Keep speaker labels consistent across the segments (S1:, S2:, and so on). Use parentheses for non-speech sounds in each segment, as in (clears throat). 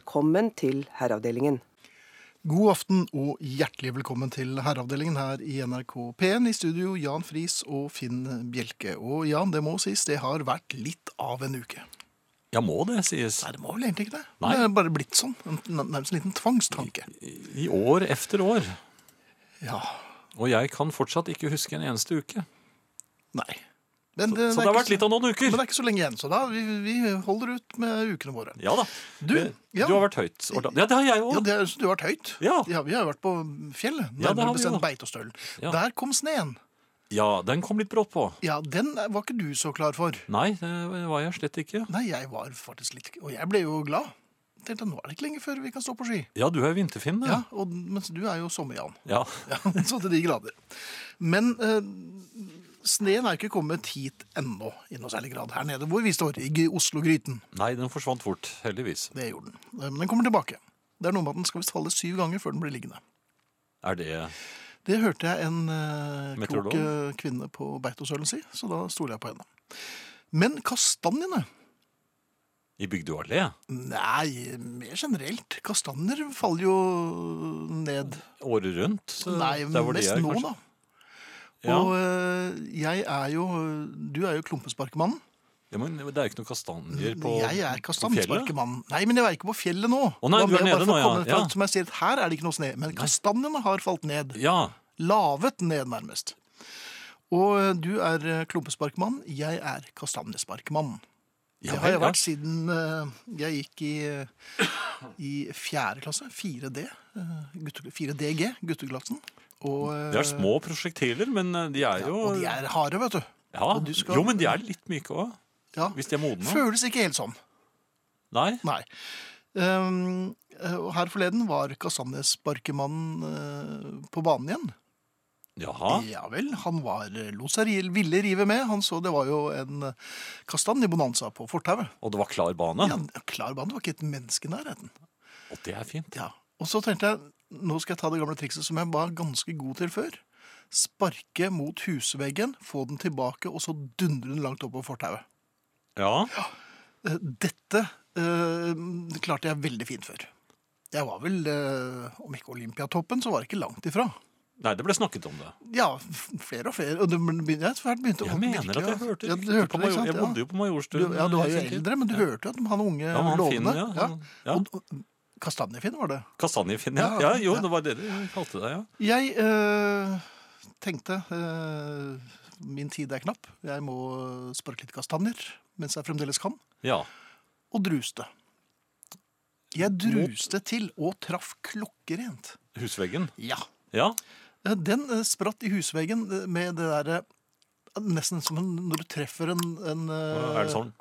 S1: Velkommen til Herreavdelingen.
S2: God aften og hjertelig velkommen til Herreavdelingen her i NRK P1. I studio Jan Friis og Finn Bjelke. Og Jan, det må sies, det har vært litt av en uke.
S3: Ja, må det sies.
S2: Nei, det må vel egentlig ikke det.
S3: Nei.
S2: Det er bare blitt sånn. En, nærmest en liten tvangstanke.
S3: I år efter år.
S2: Ja,
S3: Og jeg kan fortsatt ikke huske en eneste uke.
S2: nei. Men
S3: Så
S2: er
S3: det har
S2: ikke
S3: vært litt av noen
S2: Men
S3: uker.
S2: det er ikke så lenge igjen, så da vi, vi holder ut med ukene våre.
S3: Ja da.
S2: Du,
S3: Eh,
S2: ja.
S3: du har vært høyt. Ja, det har jeg
S2: Ja,
S3: òg.
S2: det, er- så Du har vært høyt.
S3: Ja.
S2: vi har jo vært på fjellet.
S3: Ja, det
S2: Nærmere
S3: har vi jo.
S2: bestemt Beitostølen.
S3: Ja.
S2: Der kom sneen.
S3: Ja, den kom litt brått på.
S2: Ja, den var ikke du så klar for.
S3: Nei, det var jeg slett ikke.
S2: Nei, jeg var faktisk litt Og jeg ble jo glad. Tenkte nå er det ikke lenge før vi kan stå på ski.
S3: Ja, du er vinterfinn,
S2: Ja, og, Mens du er jo sommer-Jan.
S3: Ja.
S2: (laughs) Ja, så til de grader. Men eh, sneen er ikke kommet hit ennå i noe særlig grad her nede hvor vi står, i G- Oslo-gryten.
S3: Nei, den forsvant fort, heldigvis.
S2: Det gjorde den. Eh, Men den kommer tilbake. Det er noe med at den skal visst falle syv ganger før den blir liggende.
S3: Er det
S2: Det hørte jeg en eh, klok
S3: Meteorolog?
S2: eh, kvinne på Beitostølen si, så da stoler jeg på henne. Men kastanjene
S3: i Bygdø allé?
S2: Nei, mer generelt. Kastanjer faller jo ned.
S3: Året rundt? så
S2: Nei,
S3: der hvor de
S2: mest
S3: er,
S2: nå,
S3: kanskje?
S2: da.
S3: Ja.
S2: Og eh, jeg er jo Du er jo klumpesparkemannen.
S3: ja, men Det er jo ikke noen kastanjer på
S2: jeg er
S3: på fjellet.
S2: kastanjesparkemannen. Nei, men jeg er ikke på fjellet nå.
S3: Å, nei,
S2: Det var
S3: du
S2: mer
S3: er
S2: bare
S3: nede
S2: for
S3: nå,
S2: å
S3: ja.
S2: komme fra-
S3: Ja.
S2: Som jeg sier, her er det ikke noe sne, men kastanjene har falt ned.
S3: Ja.
S2: Lavet ned, nærmest. Og eh, du er eh, klumpesparkmann, jeg er kastanjesparkmann.
S3: Ja,
S2: det har jeg
S3: ja.
S2: vært siden eh, jeg gikk i, i fjerde klasse, 4D, eh, gutte- 4DG, gutteklassen. Og, eh,
S3: Det er små prosjektiler, men eh, de er jo
S2: og de er harde, vet du.
S3: Ja,
S2: Og du skal-
S3: Jo, men de er litt myke òg.
S2: Ja.
S3: Hvis de er modne.
S2: Føles ikke helt sånn,
S3: Nei?
S2: nei. Um, eh, og her forleden var kastanjesparkemannen eh, på banen igjen.
S3: Jaha.
S2: Ja vel, han var, eh, lot seg ri- ville rive med. Han så det var jo en eh, kastanjebonanza på fortauet.
S3: Og det var klar bane?
S2: Ja, klar bane, det var ikke et menneske i nærheten.
S3: Og det er fint.
S2: Ja. Og så tenkte jeg, nå skal jeg ta det gamle trikset som jeg var ganske god til før. Sparke mot husveggen, få den tilbake, og så dundre den langt oppover fortauet.
S3: Ja.
S2: Eh, Dette eh, klarte jeg veldig fint før. Jeg var vel, eh, om ikke Olympiatoppen, så var jeg ikke langt ifra.
S3: Nei, det ble snakket om det.
S2: Ja, f- flere og flere. Og det begynte, jeg begynte å
S3: Jeg mener
S2: virkelig
S3: at jeg
S2: å-
S3: hørte
S2: ja, du hørte
S3: på
S2: det, ikke
S3: Major,
S2: sant?
S3: Jeg
S2: Ja.
S3: bodde jo på Majorstuen.
S2: Du, ja, du var
S3: i
S2: jo
S3: sin tid.
S2: eldre, men du hørte jo at han unge
S3: Ja, men han Finn,
S2: lovende
S3: ja.
S2: ja.
S3: Han- ja.
S2: Og- og Kastanjefinn var det.
S3: Kastanjefinn, ja.
S2: Ja,
S3: ja. Jo,
S2: ja.
S3: det var det du kalte deg, ja.
S2: Jeg eh, tenkte eh, min tid er knapp. Jeg må sparke litt kastanjer mens jeg fremdeles kan.
S3: Ja.
S2: Og druste. Jeg druste til og traff klokkerent.
S3: Husveggen.
S2: Ja.
S3: Ja.
S2: Eh, Den eh, spratt i husveggen eh, med det derre Nesten som en, når du treffer en, en eh,
S3: Er det sånn?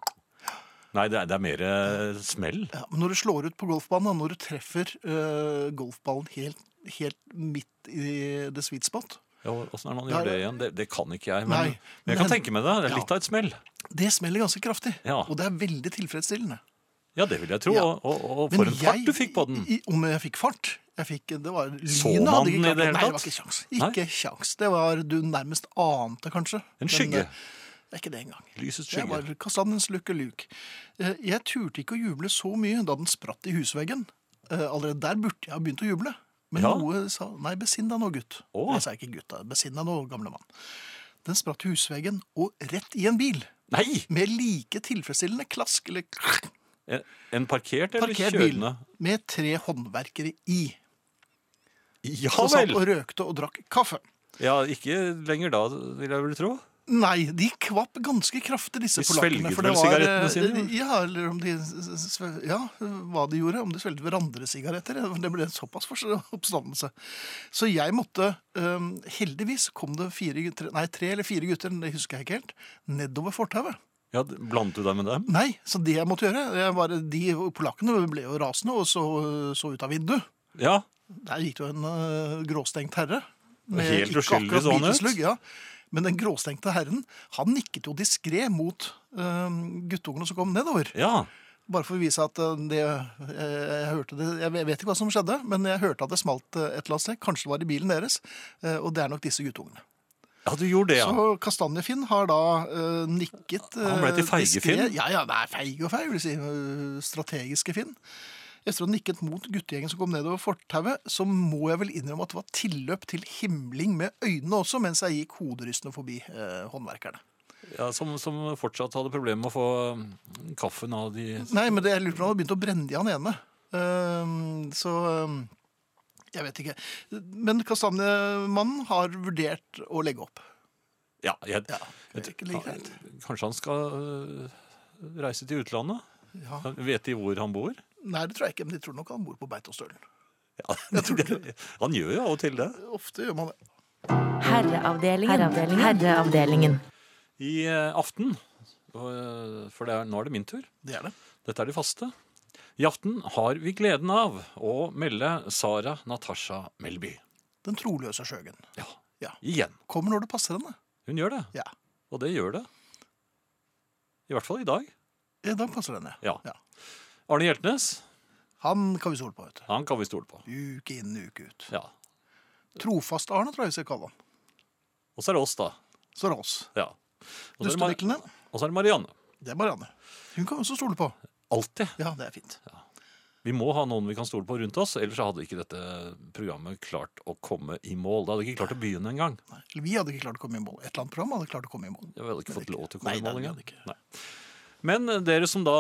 S3: Nei, det er, det er mer eh, smell.
S2: Ja, men når du slår ut på golfbanen, da, når du treffer eh, golfballen helt, helt midt i the sweet spot
S3: Ja, Åssen er det man
S2: Ja,
S3: gjør det igjen? Det, det kan ikke jeg. Men,
S2: Nei,
S3: men jeg kan
S2: men-
S3: tenke meg det. Det
S2: Ja.
S3: er litt av et smell.
S2: Det smeller ganske kraftig,
S3: Ja.
S2: og det er veldig tilfredsstillende.
S3: Ja, det vil jeg tro.
S2: Ja.
S3: Og, og, og
S2: Men
S3: for en fart
S2: jeg-
S3: du fikk på den.
S2: I, om jeg fikk fart? Jeg fikk, det var
S3: Så
S2: lynet
S3: man
S2: hadde ikke
S3: den i
S2: klart-
S3: det hele
S2: Nei, det var
S3: tatt?
S2: ikke sjans.
S3: Nei?
S2: Ikke sjans. Det var du nærmest ante, kanskje. Men,
S3: En skygge.
S2: eh, Det er ikke det engang.
S3: Lysets
S2: Det var
S3: skygge.
S2: kastanjens lukke luk. Eh, Jeg turte ikke å juble så mye da den spratt i husveggen. Eh, Allerede der burde jeg ha begynt å juble. Men
S3: Ja.
S2: noe sa Nei, besinn deg nå, gutt.
S3: Å.
S2: Jeg sa ikke gutt, da. Besinn deg nå, gamle mann. Den spratt i husveggen og rett i en bil.
S3: Nei!
S2: Med like tilfredsstillende klask eller klakk,
S3: En- En parkert eller
S2: parkert bil
S3: kjørende?
S2: med tre håndverkere i.
S3: Ja
S2: Som
S3: altså,
S2: satt
S3: vel!
S2: og røkte og drakk kaffe.
S3: Ja, ikke lenger da, vil jeg vel tro.
S2: Nei, de kvapp ganske kraftig, disse
S3: De
S2: polakkene.
S3: svelget
S2: for det
S3: vel
S2: var,
S3: sigarettene sine,
S2: eh, Ja, eller om de sve- Ja, hva de gjorde. Om de svelget hverandre sigaretter. Det ble såpass for oppstandelse. Så jeg måtte eh, Heldigvis kom det fire, gutter- nei, tre eller fire gutter, det husker jeg ikke helt, nedover fortauet.
S3: Ja, d- Blandet du deg med dem?
S2: Nei, så det jeg måtte gjøre jeg bare, De polakkene ble jo rasende og så, så ut av vinduet.
S3: Ja.
S2: Der gikk det jo en øh, gråstengt herre.
S3: Helt
S2: ikke
S3: uskyldig
S2: akkurat
S3: så han ut.
S2: biteslugg, Ja. Men den gråstengte herren han nikket jo diskré mot øh, guttungene som kom nedover.
S3: Ja.
S2: Bare for å vise at øh, det, øh, jeg, hørte det Jeg vet ikke hva som skjedde, men jeg hørte at det smalt øh, et eller annet sted. Kanskje det var i bilen deres. øh, Og det er nok disse guttungene.
S3: ja, du gjorde det, ja.
S2: Så Kastanjefinn har da øh, nikket
S3: Han ble
S2: øh,
S3: til
S2: diskré-
S3: feige Finn?
S2: Ja, ja, det er feig og feig, vil jeg si. øh, Eh, strategiske Finn. Etter å ha nikket mot guttegjengen som kom nedover fortauet, så må jeg vel innrømme at det var tilløp til himling med øynene også, mens jeg gikk hoderystende forbi eh, håndverkerne.
S3: Ja, som, som fortsatt hadde problemer med å få mm, kaffen av de
S2: Nei, men det jeg lurer på om han hadde begynt å brenne i han ene. Ehm, så ehm, jeg vet ikke. Men kastanjemannen har vurdert å legge opp.
S3: Ja, jeg,
S2: Ja, det er
S3: jeg tror-
S2: ikke like greit.
S3: Kanskje han skal øh, reise til utlandet?
S2: Ja.
S3: Vet de hvor han bor?
S2: Nei, det tror jeg ikke, men de tror nok han bor på Beitostølen.
S3: Ja, det, (laughs) han gjør jo av og til det.
S2: Ofte gjør man det.
S4: Herreavdelingen. Herreavdelingen.
S3: I eh, aften, og, eh, for det er, nå er det min tur,
S2: Det er det.
S3: dette er de faste, i aften har vi gleden av å melde Sara Natasha Melby.
S2: Den troløse Sjøgen.
S3: Ja,
S2: Ja.
S3: igjen.
S2: Kommer når det passer henne.
S3: Hun gjør det,
S2: Ja.
S3: og det gjør det. I hvert fall i dag.
S2: Ja, Da passer den, ja.
S3: Ja. Arne Hjeltnes,
S2: Han kan vi stole på, vet du.
S3: han kan vi stole på.
S2: Uke inn, uke ut.
S3: Ja.
S2: Trofast Arne, tror jeg vi skal kalle han.
S3: Og så er det oss, da.
S2: Så er det oss.
S3: Ja. Og så er det Mar-
S2: Dusteviklene,
S3: og så er det Marianne.
S2: det er Marianne. Hun kan vi også stole på.
S3: Alltid.
S2: Ja, det er fint.
S3: Vi må ha noen vi kan stole på rundt oss, ellers så hadde ikke dette programmet klart å komme i mål. Det hadde ikke klart å begynne engang.
S2: Nei, eller Vi hadde ikke klart å komme i mål. Et eller annet program hadde klart å komme i mål.
S3: Vi hadde ikke fått lov til å
S2: Nei,
S3: komme i
S2: nei,
S3: mål
S2: vi
S3: engang.
S2: hadde ikke.
S3: Nei. Men eh, dere som da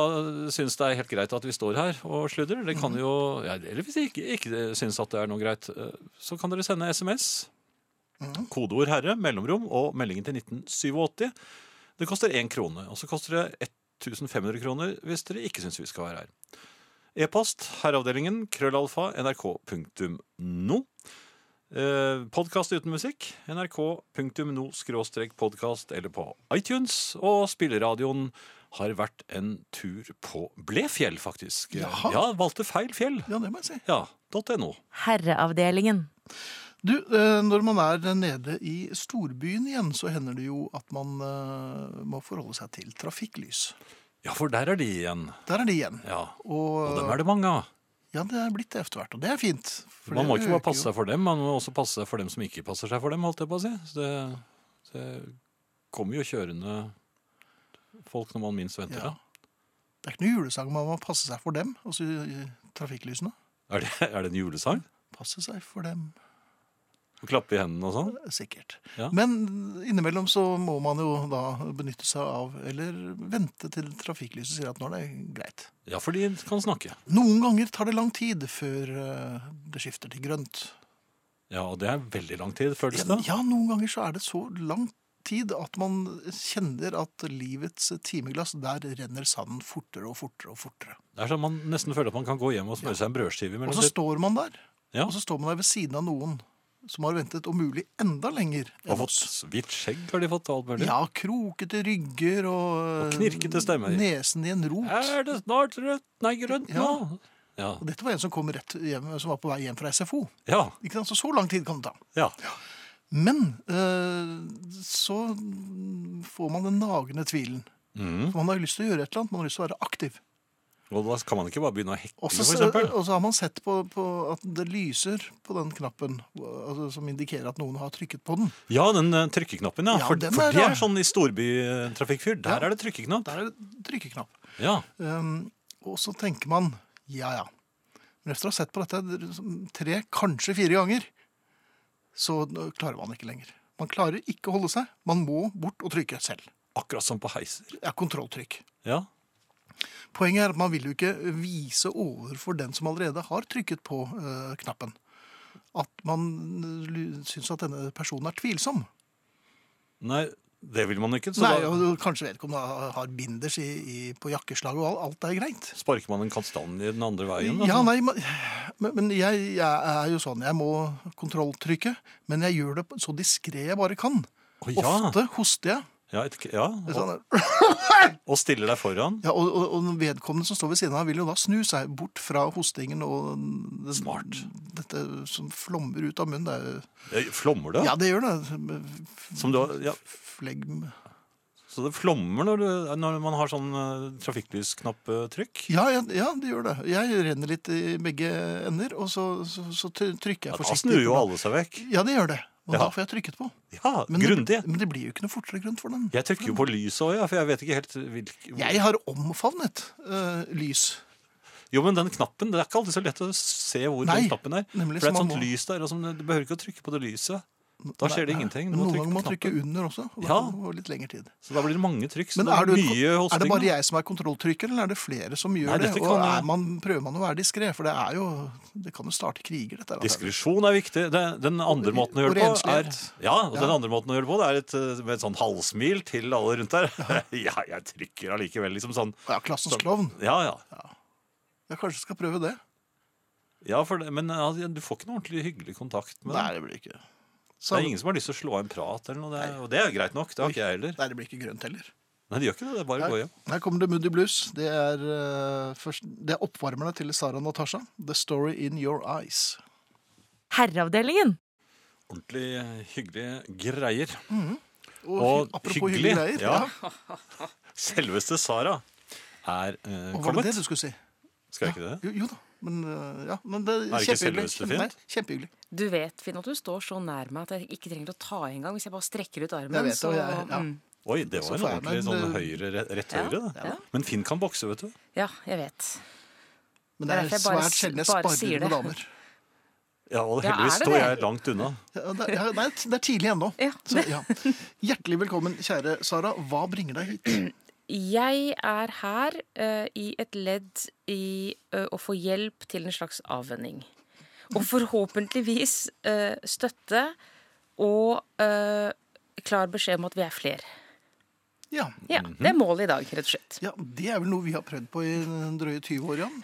S3: syns det er helt greit at vi står her og sludrer, det
S2: Mhm.
S3: kan jo ja, Eller hvis dere ikke, ikke syns at det er noe greit, eh, så kan dere sende SMS.
S2: Mhm.
S3: Kodeord 'herre', mellomrom og meldingen til 1987. Det koster én krone. Og så koster det 1500 kroner hvis dere ikke syns vi skal være her. E-post herreavdelingen krøllalfa nrk.no. Eh, podkast uten musikk. nrk.no-podkast eller på iTunes. Og spilleradioen har vært en tur på Blefjell, faktisk.
S2: Jaha.
S3: Ja, valgte feil fjell.
S2: Ja, det må jeg si.
S3: Ja, .no.
S4: Herreavdelingen.
S2: Du, eh, når man er nede i storbyen igjen, så hender det jo at man eh, må forholde seg til trafikklys.
S3: Ja, for der er de igjen.
S2: Der er de igjen.
S3: Ja. Og
S2: Og,
S3: dem er det mange av.
S2: ja, det er blitt det etter hvert, og det er fint. for
S3: Man må
S2: det
S3: ikke bare
S2: øker
S3: passe
S2: jo-
S3: seg for dem, man må også passe seg for dem som ikke passer seg for dem, holdt jeg på å si. Så det, det kommer jo kjørende folk når man minst venter.
S2: Ja.
S3: Ja.
S2: Det er ikke noe julesang, man må passe seg for dem, altså i- i trafikklysene.
S3: Er, det, er det en julesang?
S2: Passe seg for dem,
S3: Å klappe i hendene og sånn?
S2: sikkert.
S3: Ja.
S2: Men innimellom så må man jo da benytte seg av, eller vente til trafikklyset sier at nå er det greit.
S3: Ja, for de kan snakke.
S2: Noen ganger tar det lang tid før eh, det skifter til grønt.
S3: Ja, og det er veldig lang tid, føles
S2: Ja,
S3: det.
S2: ja, noen ganger så er det så lang tid at man kjenner at livets timeglass, der renner sanden fortere og fortere og fortere.
S3: Det er sånn man nesten føler at man kan gå hjem og smøre seg en brødskive
S2: Og
S3: mellom
S2: så
S3: sitt.
S2: står man der,
S3: Ja,
S2: og så står man der ved siden av noen som har ventet om mulig enda lenger
S3: og
S2: enn
S3: fått
S2: oss.
S3: hvitt skjegg har de fått og alt mulig.
S2: Ja, krokete rygger og,
S3: Og knirkete stemmer.
S2: Nesen i en rot.
S3: Er det snart rødt? Nei, grønt
S2: Ja.
S3: nå? Ja.
S2: Og dette var en som kom rett hjem, som var på vei hjem fra SFO.
S3: Ja.
S2: Ikke sant? Så så lang tid kan det ta.
S3: ja.
S2: Men eh, så får man den nagende tvilen.
S3: Mm.
S2: Man har lyst til å gjøre et eller annet, man har lyst til å være aktiv.
S3: Og da kan man ikke bare begynne å
S2: Og
S3: hekle,
S2: så
S3: for eksempel.
S2: og så har man sett på, på at det lyser på den knappen, altså, som indikerer at noen har trykket på den.
S3: Ja, den eh, trykkeknappen, ja.
S2: Ja,
S3: for
S2: den
S3: for
S2: er
S3: det
S2: rar.
S3: er sånn i storbytrafikkfyr. Der
S2: Ja.
S3: er det trykkeknapp.
S2: Der er det trykkeknapp.
S3: Ja.
S2: Um, og så tenker man ja, ja. Men etter å ha sett på dette tre, kanskje fire ganger, så klarer man ikke lenger. Man klarer ikke å holde seg. Man må bort og trykke selv.
S3: Akkurat som på heiser.
S2: Det er kontrolltrykk.
S3: Ja.
S2: Poenget er at man vil jo ikke vise overfor den som allerede har trykket på eh, knappen, at man eh, syns at denne personen er tvilsom.
S3: Nei, det vil man ikke. Så
S2: Nei,
S3: da
S2: og Kanskje vedkommende har- har binders i, i, på jakkeslaget, og alt, alt er greit.
S3: sparker man en kastanje den andre veien.
S2: Ja,
S3: altså.
S2: nei, men, men- men jeg, jeg er jo sånn, jeg må kontrolltrykke, men jeg gjør det på- så diskret jeg bare kan.
S3: Å, ja.
S2: Ofte hoster jeg.
S3: Ja, et, ja.
S2: Det er
S3: Og,
S2: Sånn,
S3: og stiller deg foran.
S2: ja, og, og, og vedkommende som står ved siden av, vil jo da snu seg bort fra hostingen og det,
S3: Smart.
S2: dette som flommer ut av munnen. Det er,
S3: Eh, Flommer det?
S2: jo- ja, det gjør det.
S3: Som du, har- ja.
S2: Flegm.
S3: Så det flommer når, du, når man har sånn eh, trafikklysknapptrykk?
S2: Ja, ja, ja, det gjør det. Jeg renner litt i begge ender, og så, så, så trykker jeg
S3: Ja, da
S2: forsiktig.
S3: snur jo
S2: på-
S3: alle seg vekk.
S2: Ja, det gjør det. Og
S3: Ja.
S2: da får jeg trykket på.
S3: Ja,
S2: Men
S3: grundig.
S2: Det, men det blir jo ikke noe fortere grønt for den.
S3: Jeg trykker jo på lyset òg, ja, for jeg vet ikke helt hvilk...
S2: Jeg har omfavnet eh, lys.
S3: Jo, men den knappen, det er ikke alltid så lett å se hvor
S2: Nei,
S3: den knappen er.
S2: nemlig, så
S3: for det er et
S2: man
S3: sånt
S2: må-
S3: lys der, og som, du behøver ikke å trykke på det lyset. Da skjer det
S2: Nei,
S3: ingenting. Du må
S2: Noen
S3: trykke
S2: ganger må
S3: på
S2: man trykke
S3: knappen.
S2: under også. Og da
S3: Ja.
S2: får det litt lengre tid.
S3: Så da blir det mange trykk. Så
S2: Men
S3: det
S2: er,
S3: er
S2: du,
S3: mye
S2: er det
S3: hosting.
S2: bare
S3: da.
S2: jeg som er kontrolltrykker, eller er det flere som gjør
S3: Nei,
S2: det?
S3: dette
S2: Og
S3: kan jo-
S2: er man, prøver man å være diskré? For det er jo Det kan jo starte kriger, dette her.
S3: Diskresjon er viktig. Den, den andre måten å
S2: og
S3: gjøre det på er
S2: renslighet.
S3: Ja, og den
S2: Ja.
S3: andre måten å gjøre det på det er et, eh, med et sånn halvsmil til alle rundt der. (laughs) Ja, jeg trykker allikevel, liksom sånn.
S2: Ja, klassens klovn.
S3: Ja, ja.
S2: Jeg kanskje skal prøve det.
S3: ja for det, men ja, du får ikke noe ordentlig hyggelig kontakt
S2: Nei,
S3: med
S2: sånn-
S3: dem.
S2: det blir ikke
S3: Det
S2: Sam-
S3: er ingen som har lyst til å slå av en prat eller noe. Det er, og det er greit nok. Det har ikke jeg heller.
S2: Nei, det blir ikke grønt heller.
S3: Nei, de gjør ikke det. Det er bare å gå hjem.
S2: Her kommer det Moody Blues. Det er, eh, først, det er oppvarmerne til Sara Natasha. The Story In Your Eyes.
S4: Herreavdelingen.
S3: Ordentlig eh, hyggelige greier.
S2: Og,
S3: Og
S2: apropos
S3: hyggelig,
S2: hyggelige greier.
S3: ja.
S2: Ja.
S3: (laughs) Selveste Sara er eh,
S2: Og var det
S3: kommet.
S2: det du skulle si?
S3: Skal jeg ikke det?
S2: Jo, jo da. Men, eh, ja. Men det
S3: Er
S2: er
S3: det ikke
S2: kjempehyggelig.
S3: selveste
S2: Kjempe- nei,
S3: fint?
S2: Kjempehyggelig.
S5: Du vet, Finn, at du står så nær meg at jeg ikke trenger å ta i engang. Hvis jeg bare strekker ut armen,
S2: Jeg vet det,
S5: så
S2: og jeg- ja.
S5: mm,
S3: Oi, det
S2: Så
S3: var en
S2: får jeg
S3: ordentlig
S2: meg en,
S3: sånn
S2: eh,
S3: høyre, rett, rett
S5: ja,
S3: høyre. det.
S5: ja.
S3: Men Finn kan bokse, vet du.
S5: ja, jeg vet.
S2: Men
S5: Det
S2: det
S5: er
S2: er
S5: derfor jeg bare
S2: svært
S5: s-
S2: sjelden jeg
S5: bare
S2: sparer med
S5: sier det.
S2: damer.
S3: Ja, og
S5: Ja,
S3: heldigvis
S5: er det
S3: står
S5: det?
S3: jeg langt unna.
S2: Ja, det, ja, nei, det er tidlig ennå.
S5: Ja.
S2: (laughs) Så, ja. Hjertelig velkommen, kjære Sara. Hva bringer deg hit?
S5: Jeg er her eh, i et ledd i eh, å få hjelp til en slags avvenning. Og forhåpentligvis eh, støtte og eh, klar beskjed om at vi er flere.
S2: Ja.
S5: Ja, Det er
S2: Mhm.
S5: målet i dag, rett og slett.
S2: ja, Det er vel noe vi har prøvd på i drøye 20 år, Jan.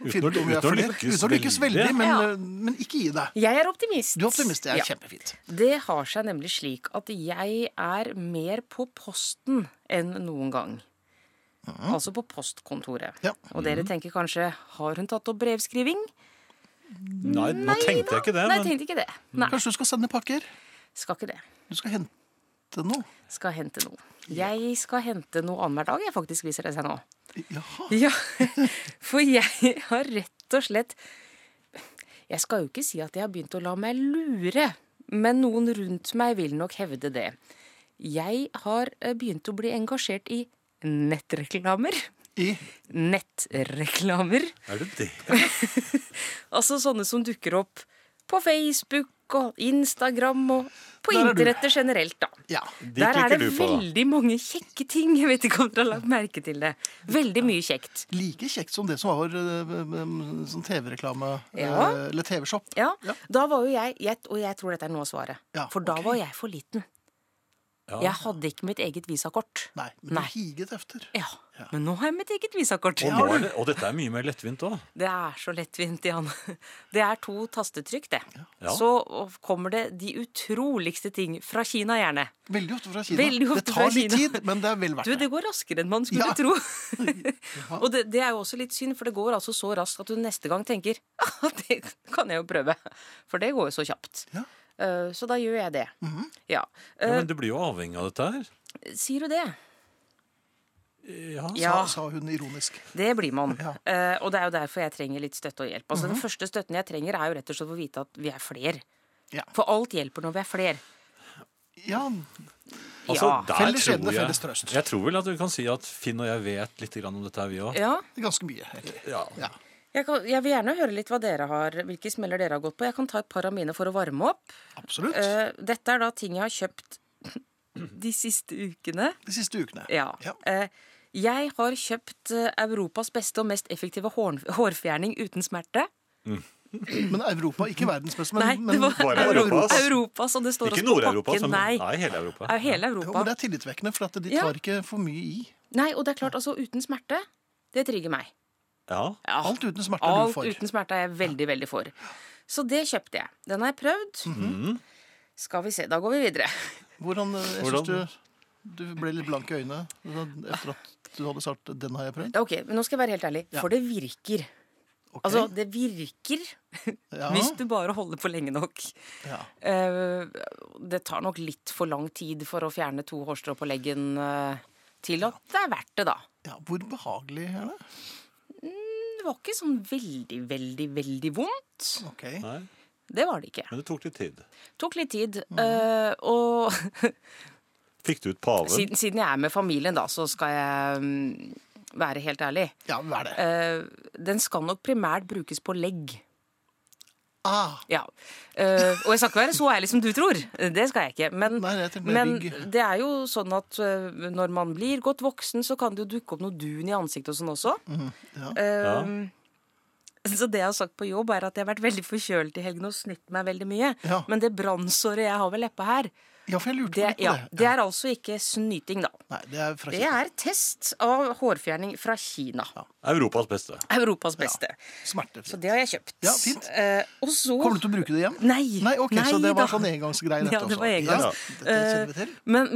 S3: Uten
S2: Finne
S3: å-
S2: ut om vi er
S3: uten å
S2: flere.
S3: lykkes
S2: Uten å lykkes veldig,
S3: veldig.
S2: men, eh,
S5: Ja.
S2: men ikke gi deg.
S5: Jeg er optimist.
S2: Du er optimist, det er
S5: Ja.
S2: kjempefint.
S5: Det har seg nemlig slik at jeg er mer på posten enn noen gang. Altså på postkontoret.
S2: Ja.
S5: Og
S3: Mm.
S5: dere tenker kanskje har hun tatt opp brevskriving?
S3: Nei, nå tenkte jeg ikke det.
S5: Nei, jeg
S3: Men Mm.
S5: tenkte ikke det. Nei,
S2: Kanskje du skal sende pakker?
S5: skal ikke det.
S2: Du skal hente noe?
S5: Skal hente noe. Jeg skal hente noe annenhver dag, jeg faktisk, viser det seg nå.
S2: Jaha.
S5: Ja, (laughs) for jeg har rett og slett Jeg skal jo ikke si at jeg har begynt å la meg lure, men noen rundt meg vil nok hevde det. Jeg har eh, begynt å bli engasjert i nettreklamer. (laughs)
S2: I
S5: Nettreklamer.
S3: er det
S5: (laughs)
S3: det?
S5: Altså sånne som dukker opp på Facebook og Instagram og på
S2: Der er du.
S5: internettet generelt, da.
S2: Ja.
S3: De
S5: Der er
S3: klikker
S5: det
S3: du på, da.
S5: veldig mange kjekke ting. Jeg vet ikke om dere har lagt merke til det. Veldig mye kjekt.
S2: Like kjekt som det som var eh, eh, sånn TV-reklame eh,
S5: Ja.
S2: Eller TV-shop.
S5: Ja,
S2: Ja.
S5: da var jo jeg, jeg Og jeg tror dette er noe av svaret.
S2: Ja,
S5: for da
S2: ok.
S5: var jeg for liten.
S3: Ja.
S5: Jeg hadde ikke mitt eget visakort.
S2: Nei, men
S5: Nei.
S2: du higet efter.
S5: Ja, Men nå har jeg mitt eget visakort.
S3: Og, nå er det, og dette er mye mer lettvint òg.
S5: Det er så lettvint, Jan. (laughs) Det er to tastetrykk, det.
S3: Ja.
S5: Så kommer det de utroligste ting. Fra Kina, gjerne.
S2: Veldig ofte fra Kina.
S5: Veldig ofte
S2: det tar
S5: fra
S2: litt
S5: Kina.
S2: tid, men det er vel verdt
S5: Du,
S2: det.
S5: det går raskere enn man skulle
S2: Ja. (laughs)
S5: tro. Og det, det er jo også litt synd, for det går altså så raskt at du neste gang tenker (laughs) «Ah, det kan jeg jo prøve. For det går jo så kjapt.
S2: Ja.
S5: Eh, Så da gjør jeg det.
S2: Mhm.
S5: Ja.
S3: Ja,
S5: Eh,
S3: men du blir jo avhengig av dette her.
S5: Sier du det?
S3: Ja.
S5: Ja,
S2: Sa, sa hun ironisk.
S5: det blir man.
S2: Ja. Mhm.
S5: Eh, og det er jo derfor jeg trenger litt støtte og hjelp. Altså, Den første støtten jeg trenger, er jo rett og slett å vite at vi er fler.
S2: Ja.
S5: For alt hjelper når vi er fler.
S2: Ja,
S3: Altså,
S5: Ja.
S3: der
S2: Felles
S3: tror
S2: skjebne,
S3: jeg-
S2: felles trøst.
S3: Jeg tror vel at du kan si at Finn og jeg vet litt grann om dette, her, vi òg.
S5: Ja,
S2: ganske mye. egentlig.
S3: Ja.
S2: Ja.
S5: jeg, kan, jeg vil gjerne høre litt hva dere har, hvilke smeller dere har gått på. Jeg kan ta et par av mine for å varme opp.
S2: Absolutt.
S5: Eh, dette er da ting jeg har kjøpt de siste ukene.
S2: De siste ukene.
S5: Ja.
S2: Ja.
S5: Eh, jeg har kjøpt eh, Europas beste og mest effektive hår, hårfjerning uten smerte.
S2: Men Europa, ikke verdens beste, men,
S5: Mm. Nei,
S2: men
S5: det var
S3: Bare altså.
S5: Europas,
S3: Europas.
S5: Europas og det står
S3: Ikke
S5: også på
S3: Nord-Europa,
S5: pakken.
S3: som
S5: Nei,
S3: Nei, hele Europa.
S5: er hele
S2: jo,
S5: Europa.
S2: men det er tillitvekkende, for at de
S5: Ja.
S2: tar ikke for mye i.
S5: Nei, og det er klart, altså uten smerte, det trigger meg.
S3: Ja.
S5: Ja.
S2: Alt uten smerte er du
S5: Alt
S2: for.
S5: uten smerte er jeg veldig, veldig for. Så det kjøpte jeg. Den har jeg prøvd.
S2: Mhm.
S5: Skal vi se, da går vi videre.
S2: Hvordan, eh, jeg synes
S3: Hvordan-
S2: du, du ble litt blank i øynene da- etter at du hadde sagt 'den har jeg prøvd'?
S5: Ok, men nå skal jeg være helt ærlig,
S2: Ja.
S5: for det virker.
S2: Ok.
S5: Altså, det virker
S2: ja.
S5: hvis du bare holder på lenge nok.
S2: ja.
S5: Eh, det tar nok litt for lang tid for å fjerne to hårstrå på leggen eh, til at det er verdt det, da.
S2: ja, Hvor behagelig er det?
S5: Det var ikke sånn veldig, veldig, veldig vondt.
S2: Ok.
S3: Nei.
S5: Det var det ikke.
S3: Men det tok litt tid.
S5: Tok litt tid. eh, og
S3: Fikk du ut paven?
S5: Siden, siden jeg er med familien, da, så skal jeg mm, være helt ærlig.
S2: Ja, hva er det?
S5: Eh, den skal nok primært brukes på legg.
S2: Ah,
S5: Ja. Eh, og jeg skal ikke være så ærlig som du tror. Det skal jeg ikke. Men,
S2: Nei, jeg tenker mer
S5: men
S2: rygg.
S5: det er jo sånn at eh, når man blir godt voksen, så kan det jo dukke opp noe dun i ansiktet og sånn også.
S2: Mhm, ja.
S5: Eh, Så det jeg har sagt på jobb, er at jeg har vært veldig forkjølet i helgen og snytt meg veldig mye.
S2: Ja.
S5: Men det brannsåret jeg har ved leppa her,
S2: ja, for jeg lurte
S5: det,
S2: litt på
S5: ja,
S2: det.
S5: det er altså ikke snyting, da.
S2: Nei, det er fra
S5: Det er test av hårfjerning fra Kina.
S3: Europas beste.
S5: Europas beste.
S2: smerte.
S5: Så det har jeg kjøpt.
S2: Ja, fint.
S5: Eh, og så
S2: Kommer du til å bruke det hjem?
S5: Nei.
S2: Nei, ok, Så
S5: Nei
S2: det var
S5: da.
S2: sånn engangsgreie, dette
S5: Ja, det
S2: også?
S5: var engangs. Eh,
S2: Ja, dette kjenner vi til.
S5: Men,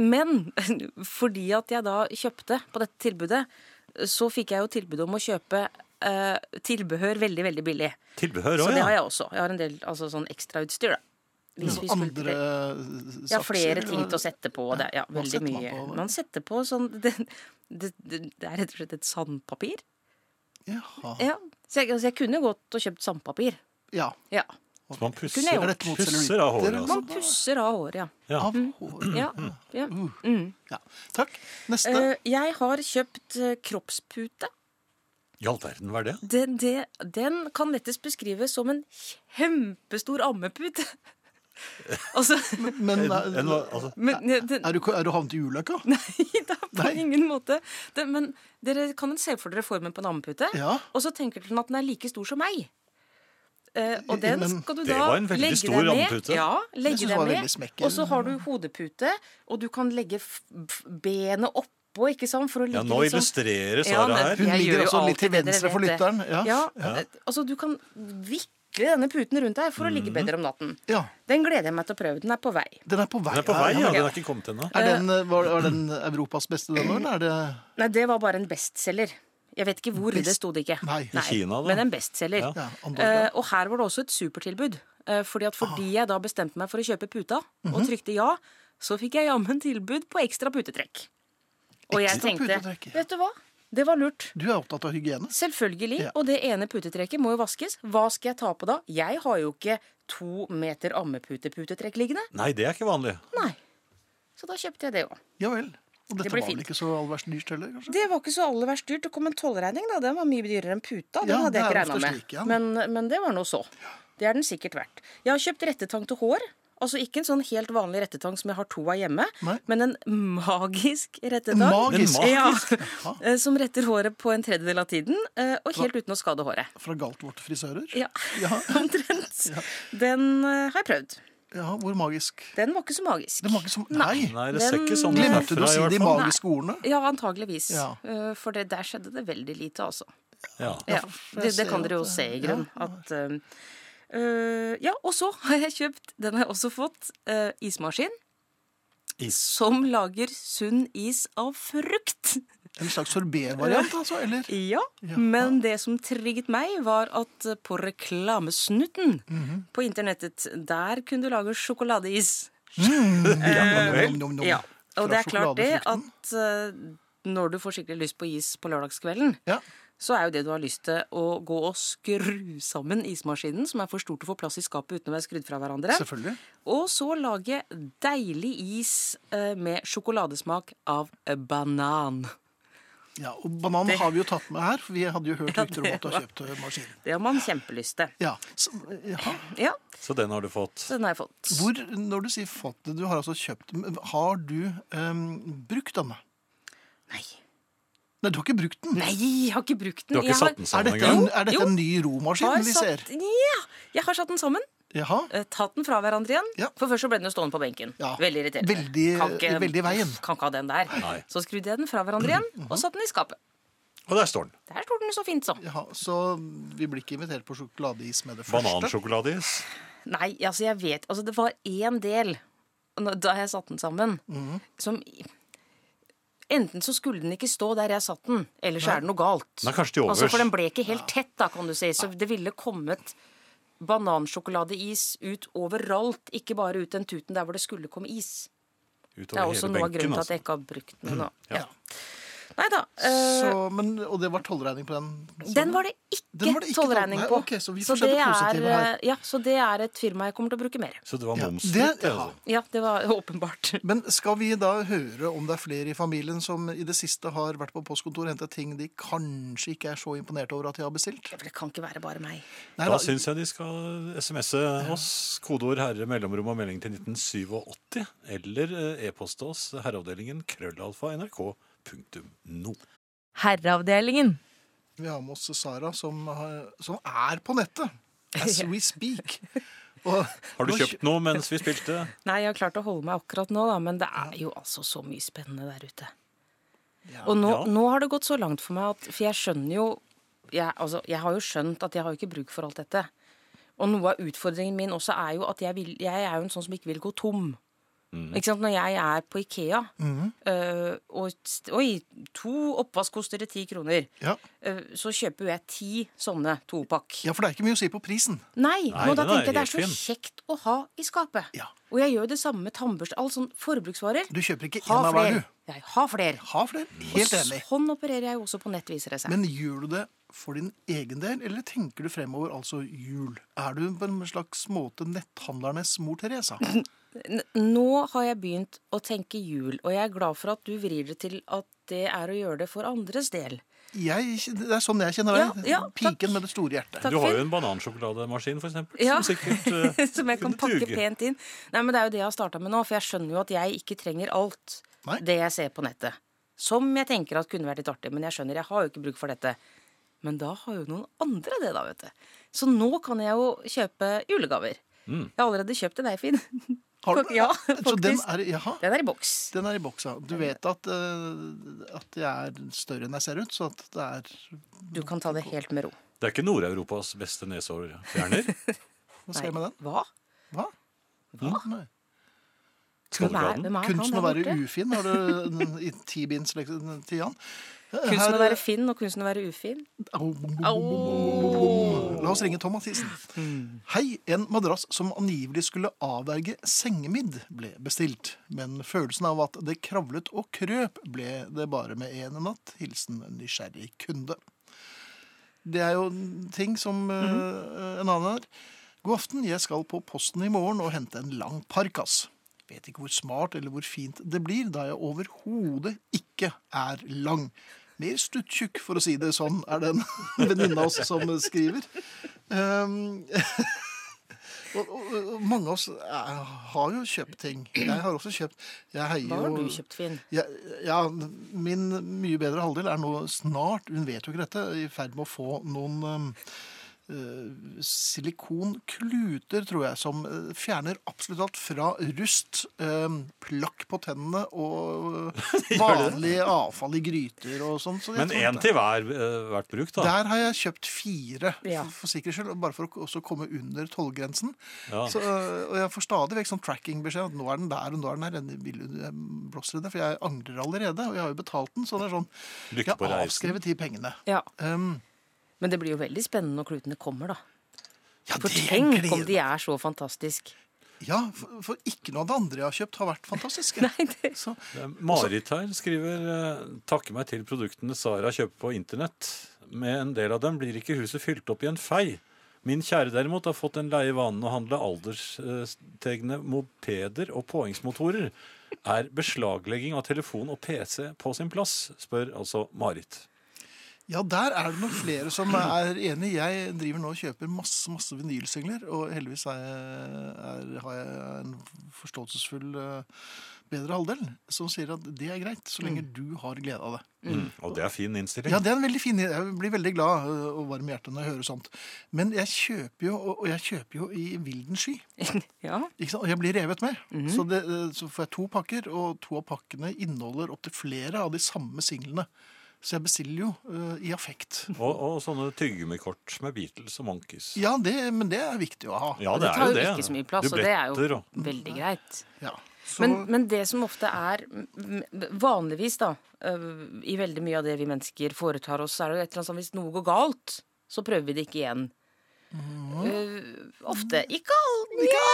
S5: (laughs) men fordi at jeg da kjøpte på dette tilbudet, så fikk jeg jo tilbud om å kjøpe eh, tilbehør veldig, veldig billig.
S3: Tilbehør
S5: Så
S3: òg,
S5: det har
S3: ja.
S5: jeg også. Jeg har en del altså, sånn ekstrautstyr, da. Hvis vi
S2: Så
S5: skulle-
S2: andre eh, satser?
S5: ja, flere ting til å
S2: sette.
S5: sette på. og Det, ja,
S2: Hva
S5: veldig
S2: setter man
S5: mye.
S2: på?
S5: Man setter på sånn (laughs) det, det, det, det er rett og slett et sandpapir.
S2: Jaha.
S5: Ja. Så jeg, altså, jeg kunne gått og kjøpt sandpapir.
S2: Ja.
S5: Ja.
S3: Så man
S5: Kunne jeg
S3: pusser,
S2: Er
S5: gjort.
S2: dette mot
S3: pusser av håret.
S2: cellulitter,
S3: Altså.
S5: Man pusser av håret, ja.
S3: Ja.
S2: Av hår.
S5: ja, ja. Mm.
S2: Ja. Takk. Neste.
S5: Eh, jeg har kjøpt eh, kroppspute.
S3: I all verden, hva er det?
S5: Den, det, den kan lettest beskrives som en kjempestor ammepute. (laughs) altså,
S2: Men
S3: En,
S2: er,
S3: en, altså,
S5: men den,
S2: er, du, er du havnet i ulykka?
S5: (laughs) Nei da, på
S2: Nei.
S5: ingen måte. Det, men dere kan se for dere formen på en ammepute,
S2: Ja.
S5: og så tenker dere at den er like stor som meg. Eh, og den
S2: Men
S5: skal du
S3: det
S5: da
S3: var en veldig
S5: legge
S3: stor
S5: deg med.
S3: ammepute.
S5: Ja,
S2: Jeg
S5: legge
S2: synes
S5: deg
S2: det var
S5: med.
S2: veldig smekken.
S5: Og så har du hodepute, og du kan legge f f benet oppå, ikke sant, for å ligge
S3: ja, nå
S5: liksom
S3: illustrerer
S5: Ja,
S3: Sara
S5: men-
S3: her.
S2: Hun
S5: Jeg gjør
S2: ligger
S5: jo
S2: altså litt til
S5: alltid det, dere
S2: venstre for
S5: vet det.
S2: lytteren. Ja.
S5: ja, eh, altså du kan vikle denne puten rundt deg for å
S3: Mhm.
S5: ligge bedre om natten.
S2: ja.
S5: Den gleder jeg meg til å prøve. Den er på vei.
S2: Den er på vei.
S3: Den er på vei, ja.
S2: ja.
S3: Den er ikke kommet ennå.
S5: Eh,
S2: Er den, eh, var, var den Europas beste, den nå, eller er det
S5: Nei, det var bare en bestselger. Jeg vet ikke hvor, det
S2: Best-
S5: sto det ikke.
S2: Nei. I
S3: Kina, da?
S5: Men en bestselger.
S3: Ja.
S2: Ja,
S5: Eh,
S2: Andorra.
S5: og her var det også et supertilbud. Eh, fordi at
S2: Ah.
S5: fordi jeg da bestemte meg for å kjøpe puta, og
S2: Mhm.
S5: trykte ja, så fikk jeg jammen tilbud på ekstra putetrekk. Og jeg
S2: Ekstra
S5: tenkte,
S2: putetrekk, ja.
S5: vet du hva, det var lurt.
S2: Du er opptatt av hygiene?
S5: Selvfølgelig.
S2: Ja.
S5: Og det ene putetrekket må jo vaskes. Hva skal jeg ta på da? Jeg har jo ikke to meter ammepute-putetrekk liggende.
S3: Nei, det er ikke vanlig.
S5: Nei. Så da kjøpte jeg det òg.
S2: Ja vel. Og dette
S5: blir
S2: var vel
S5: fint.
S2: ikke så all verst dyrt heller, kanskje?
S5: Det var ikke så aller verst dyrt. Det kom en tollregning, da. Den var mye dyrere enn puta. Den
S2: Ja,
S5: hadde jeg
S2: det
S5: ikke
S2: er
S5: regna
S2: ofte
S5: med.
S2: slik, ja.
S5: men, men det var nå så. Det er den sikkert verdt. Jeg har kjøpt rettetang til hår. Altså ikke en sånn helt vanlig rettetang som jeg har to av hjemme,
S2: Nei.
S5: men en magisk rettetang.
S2: Magisk!
S3: Den
S5: (laughs) Ja, eh, som retter håret på en tredjedel av tiden, eh, og helt uten å skade håret.
S2: Fra Galtvort frisører?
S5: Ja,
S2: Ja.
S5: (laughs) omtrent. Den eh, har jeg prøvd.
S2: ja, hvor magisk.
S5: Den var ikke så magisk.
S2: Det var ikke som Nei!
S3: Nei, det ser
S5: Den-
S3: ikke sånn ut
S2: Glemte du
S3: herfra,
S2: å si
S3: i
S2: de
S3: hvert fall.
S2: magiske ordene?
S5: Ja, antageligvis.
S2: Ja.
S5: Eh, For det, der skjedde det veldig lite, altså.
S3: Ja.
S5: Ja,
S2: for jeg
S5: det, det
S2: ser
S5: kan
S2: at
S5: dere jo
S2: det-
S5: se i
S2: ja,
S5: grunnen. At, eh, eh, ja, og så har jeg kjøpt, den har jeg også fått, eh, ismaskin.
S3: Is.
S5: Som lager sunn is av frukt.
S2: En slags sorbetvariant, altså? Eller?
S5: Ja, men det som trigget meg, var at eh, på reklamesnutten
S2: Mhm.
S5: på internettet, der kunne du lage sjokoladeis.
S2: Nom, nom, nom.
S5: Eh, Ja,
S2: Fra
S5: og det er klart det
S2: sjokoladefrukten.
S5: at eh, når du får skikkelig lyst på is på lørdagskvelden,
S2: Ja.
S5: så er jo det du har lyst til å gå og skru sammen ismaskinen, som er for stor til å få plass i skapet uten å være skrudd fra hverandre.
S2: Selvfølgelig.
S5: Og så lage deilig is eh, med sjokoladesmak av banan.
S2: Ja, og banan har vi jo tatt med her, for vi hadde jo hørt rykter om at du har kjøpt eh, maskin.
S5: Det har man kjempelyst til.
S2: Ja. Så, ja.
S5: Ja,
S3: Så den har du fått.
S5: den har jeg fått.
S2: Hvor, når du sier fått det, du har altså kjøpt men Har du em, brukt denne?
S5: Nei.
S2: Nei, du har ikke brukt den.
S5: Nei, jeg har ikke brukt den.
S3: Du har ikke
S5: Jeg har-
S3: satt den
S2: Er
S3: sammen
S2: dette, en,
S3: engang?
S2: er
S5: Jo.
S2: dette en ny
S5: har
S2: romaskin vi ser?
S5: satt- Ja, jeg har satt den sammen.
S2: Jaha.
S5: eh, Tatt den fra hverandre igjen.
S2: Ja.
S5: For først så ble den jo stående på benken.
S2: Ja.
S5: Veldig irriterende.
S2: Veldig-
S5: Kan ikke-
S2: veldig i veien. Mhm.
S5: Kan ikke ha den der.
S3: Nei.
S5: Så skrudde jeg den fra hverandre igjen, og satte den i skapet.
S3: Og der står den.
S5: Der står den så fint som.
S2: Jaha, så vi blir ikke invitert på sjokoladeis med det første?
S3: Banansjokoladeis.
S5: Nei, altså jeg vet Altså det var én del nå- da jeg satte den sammen,
S2: Mhm.
S5: som Enten så skulle den ikke stå der jeg satt den, eller så er det noe galt.
S3: Den er kanskje til overs.
S5: Altså, for den ble ikke helt tett, da, kan du si. Så det ville kommet banansjokoladeis ut overalt, ikke bare ut den tuten der hvor det skulle komme is. Det er
S3: Utover
S5: også
S3: hele
S5: noe av
S3: benken,
S5: grunnen til at
S3: altså.
S5: jeg ikke har brukt den ennå. Ja. Nei da. eh,
S2: Mm-hmm. Så, men, og det var tollregning på den? så
S5: Den
S2: du?
S5: var det
S2: Den var det
S5: ikke
S2: ikke
S5: tollregning
S2: toll-
S5: på.
S2: Nei, ok, så vi får se det positive
S5: er,
S2: her.
S5: eh, Ja, så det er et firma jeg kommer til å bruke mer.
S3: Så det var
S2: Ja,
S3: momsfritt.
S2: det-
S3: det,
S2: ja.
S3: altså.
S5: Ja, det var (laughs) åpenbart.
S2: Men skal vi da høre om det er flere i familien som i det siste har vært på postkontoret og hentet ting de kanskje ikke er så imponert over at de har bestilt?
S5: Det kan ikke være bare meg.
S2: Nei,
S3: Da
S2: da,
S3: syns jeg de skal SMS-e oss. Kodeord 'herre', mellomrom og melding til 1987. Eller eh, e-poste oss herreavdelingen krøllalfa nrk.no.
S4: Herreavdelingen.
S2: vi har med oss Sara, som, har, som er på nettet.
S5: (laughs)
S2: As we speak. Og,
S3: Har du
S2: nå
S3: kjøpt noe mens vi spilte?
S5: (laughs) Nei, jeg har klart å holde meg akkurat nå, da, men det er jo altså så mye spennende der ute.
S2: Ja.
S5: Og nå,
S3: Ja.
S5: nå har det gått så langt for meg at For jeg skjønner jo jeg, altså, jeg har jo skjønt at jeg har jo ikke bruk for alt dette. Og noe av utfordringen min også er jo at jeg, vil, jeg er jo en sånn som ikke vil gå tom.
S2: Mm.
S5: Ikke sant? Når jeg er på Ikea, øh, og st- Oi, to oppvask koster det ti kroner.
S2: Ja.
S5: Øh, så kjøper jo jeg ti sånne topakk.
S2: ja, for det er ikke mye å si på prisen.
S5: Nei,
S3: Nei,
S5: og da
S3: den er
S5: tenker jeg det er så
S3: helt
S5: kjekt å ha i skapet.
S2: Ja.
S5: Og jeg gjør det samme med tannbørste. Alle sånne forbruksvarer.
S2: Du kjøper ikke
S5: Ha
S2: én av hver,
S5: flere.
S2: du.
S5: Jeg har flere.
S2: Ha flere. Helt enig.
S5: Sånn opererer jeg jo også på nett, viser det seg.
S2: Men gjør du det for din egen del, eller tenker du fremover, altså jul? Er du på en slags måte netthandlernes mor
S5: (clears throat)
S2: Teresa?
S5: N- Nå har jeg begynt å tenke jul, og jeg er glad for at du vrir det til at det er å gjøre det for andres del.
S2: Jeg, det er sånn jeg kjenner deg.
S5: Ja, ja, takk.
S2: Piken med det store hjertet.
S5: Takk,
S3: Du har
S5: Finn.
S3: jo en banansjokolademaskin, for eksempel.
S5: Ja.
S3: Som
S5: (laughs)
S3: sikkert eh,
S5: Som jeg kan
S3: kunne
S5: pakke
S3: duge.
S5: pent inn. Nei, men Det er jo det jeg har starta med nå, for jeg skjønner jo at jeg ikke trenger alt
S2: Nei.
S5: det jeg ser på nettet. Som jeg tenker at kunne vært litt artig, men jeg skjønner, jeg har jo ikke bruk for dette. Men da har jo noen andre det, da, vet du. Så nå kan jeg jo kjøpe julegaver.
S3: Mm.
S5: Jeg har allerede kjøpt til deg, Finn.
S2: Har du?
S5: Ja,
S2: Så den
S5: faktisk.
S2: er, jaha,
S5: (laughs) Den er i boks.
S2: den er i boksa. Du vet at, eh, at jeg er større enn jeg ser ut, så at det er
S5: Du kan ta det helt med ro.
S3: Det er ikke Nord-Europas beste
S5: (laughs)
S3: nesehårfjerner.
S2: Hva skal jeg med
S5: Nei,
S2: den?
S5: Hva?
S2: Hva? Nei.
S5: Hvem er,
S3: Skålgraden.
S5: hvem er han
S2: Kunsten å
S5: der
S2: være
S5: borte?
S2: ufin, har du en- i tibinds leks- til Jan?
S5: Kunsten å
S2: Her-
S5: være Finn og kunsten å være ufin.
S2: Au, bom, bom, bom, bom, bom, bom. La oss ringe Tom Mathisen. Hei, en madrass som angivelig skulle avverge sengemidd ble bestilt. Men følelsen av at det kravlet og krøp ble det bare med en natt. Hilsen en nysgjerrig kunde. Det er jo ting som
S5: Mhm.
S2: eh, en annen her. God aften, jeg skal på posten i morgen og hente en lang parkas. Vet ikke hvor smart eller hvor fint det blir, da jeg overhodet ikke er lang. Mer stuttjukk, for å si det sånn, er (laughs) det en venninne av oss som skriver. Um, (laughs) og, og, og mange av oss eh, har jo kjøpt ting. Jeg har også kjøpt. Jeg heier
S5: Hva har
S2: jo-
S5: du kjøpt, Finn?
S2: ja, ja, min mye bedre halvdel er nå snart, hun vet jo ikke dette, i ferd med å få noen um, eh, silikonkluter, tror jeg, som eh, fjerner absolutt alt fra rust, um, plakk på tennene
S3: (laughs)
S2: og eh, vanlig avfall i gryter og sånn. Så jeg
S3: Men
S2: tror
S3: én
S2: det-
S3: til hver, eh, hvert bruk, da.
S2: Der har jeg kjøpt fire,
S5: Ja.
S2: for, for sikkerhets skyld, og bare for å også komme under tollgrensen.
S3: Ja.
S2: Så, øh, og jeg får stadig vekk sånn tracking-beskjed at nå er den der og nå er den der. Jeg vil- Jeg blåser i det, for jeg angrer allerede, og jeg har jo betalt den. Så det er sånn
S3: Lykke
S2: Jeg
S3: på
S2: har
S3: reisen.
S2: avskrevet de pengene.
S5: Ja,
S2: Um,
S5: Men det blir jo veldig spennende når klutene kommer, da.
S2: ja,
S5: For
S2: det
S5: tenk om
S2: gleder-
S5: de er så fantastiske.
S2: Ja, for, for ikke noe av det andre jeg har kjøpt, har vært fantastisk. Så,
S3: Det er Marit her skriver eh, takker meg til produktene Sara kjøper på internett. Med en del av dem blir ikke huset fylt opp i en fei. Min kjære derimot har fått den leie vanen å handle alderstegne mopeder og påhengsmotorer. Er beslaglegging av telefon og PC på sin plass? spør altså Marit.
S2: Ja, der er det nok flere som er enig. Jeg driver nå og kjøper masse masse vinylsingler, og heldigvis er jeg, er, har jeg en forståelsesfull eh, bedre halvdel som sier at det er greit, så lenge du har glede av det.
S5: Mm.
S3: Og det er fin innstilling.
S2: Ja, det er en veldig fin Jeg blir veldig glad eh, og varm i hjertet når jeg hører sånt. Men jeg kjøper jo, og- og jeg kjøper jo i vilden sky.
S5: (laughs) Ja.
S2: Ikke sant? Og jeg blir revet med.
S5: Mhm.
S2: så, det, eh, så får jeg to pakker, og to av pakkene inneholder opptil flere av de samme singlene. Så jeg bestiller jo eh, i affekt.
S5: (laughs)
S3: Og, og sånne tyggemikort med Beatles og Monkeys.
S2: Ja, det, men det er viktig å ha.
S3: Ja,
S5: Og det tar jo ikke så mye plass, og det er
S3: Dubletter
S5: jo
S3: og
S5: veldig greit.
S2: Ja. Så,
S5: Men, men det som ofte er m- m- vanligvis, da, øh, i veldig mye av det vi mennesker foretar oss, så er det jo et eller annet sånn hvis noe går galt, så prøver vi det ikke igjen. Øh, ofte. Ikke, all, Ja,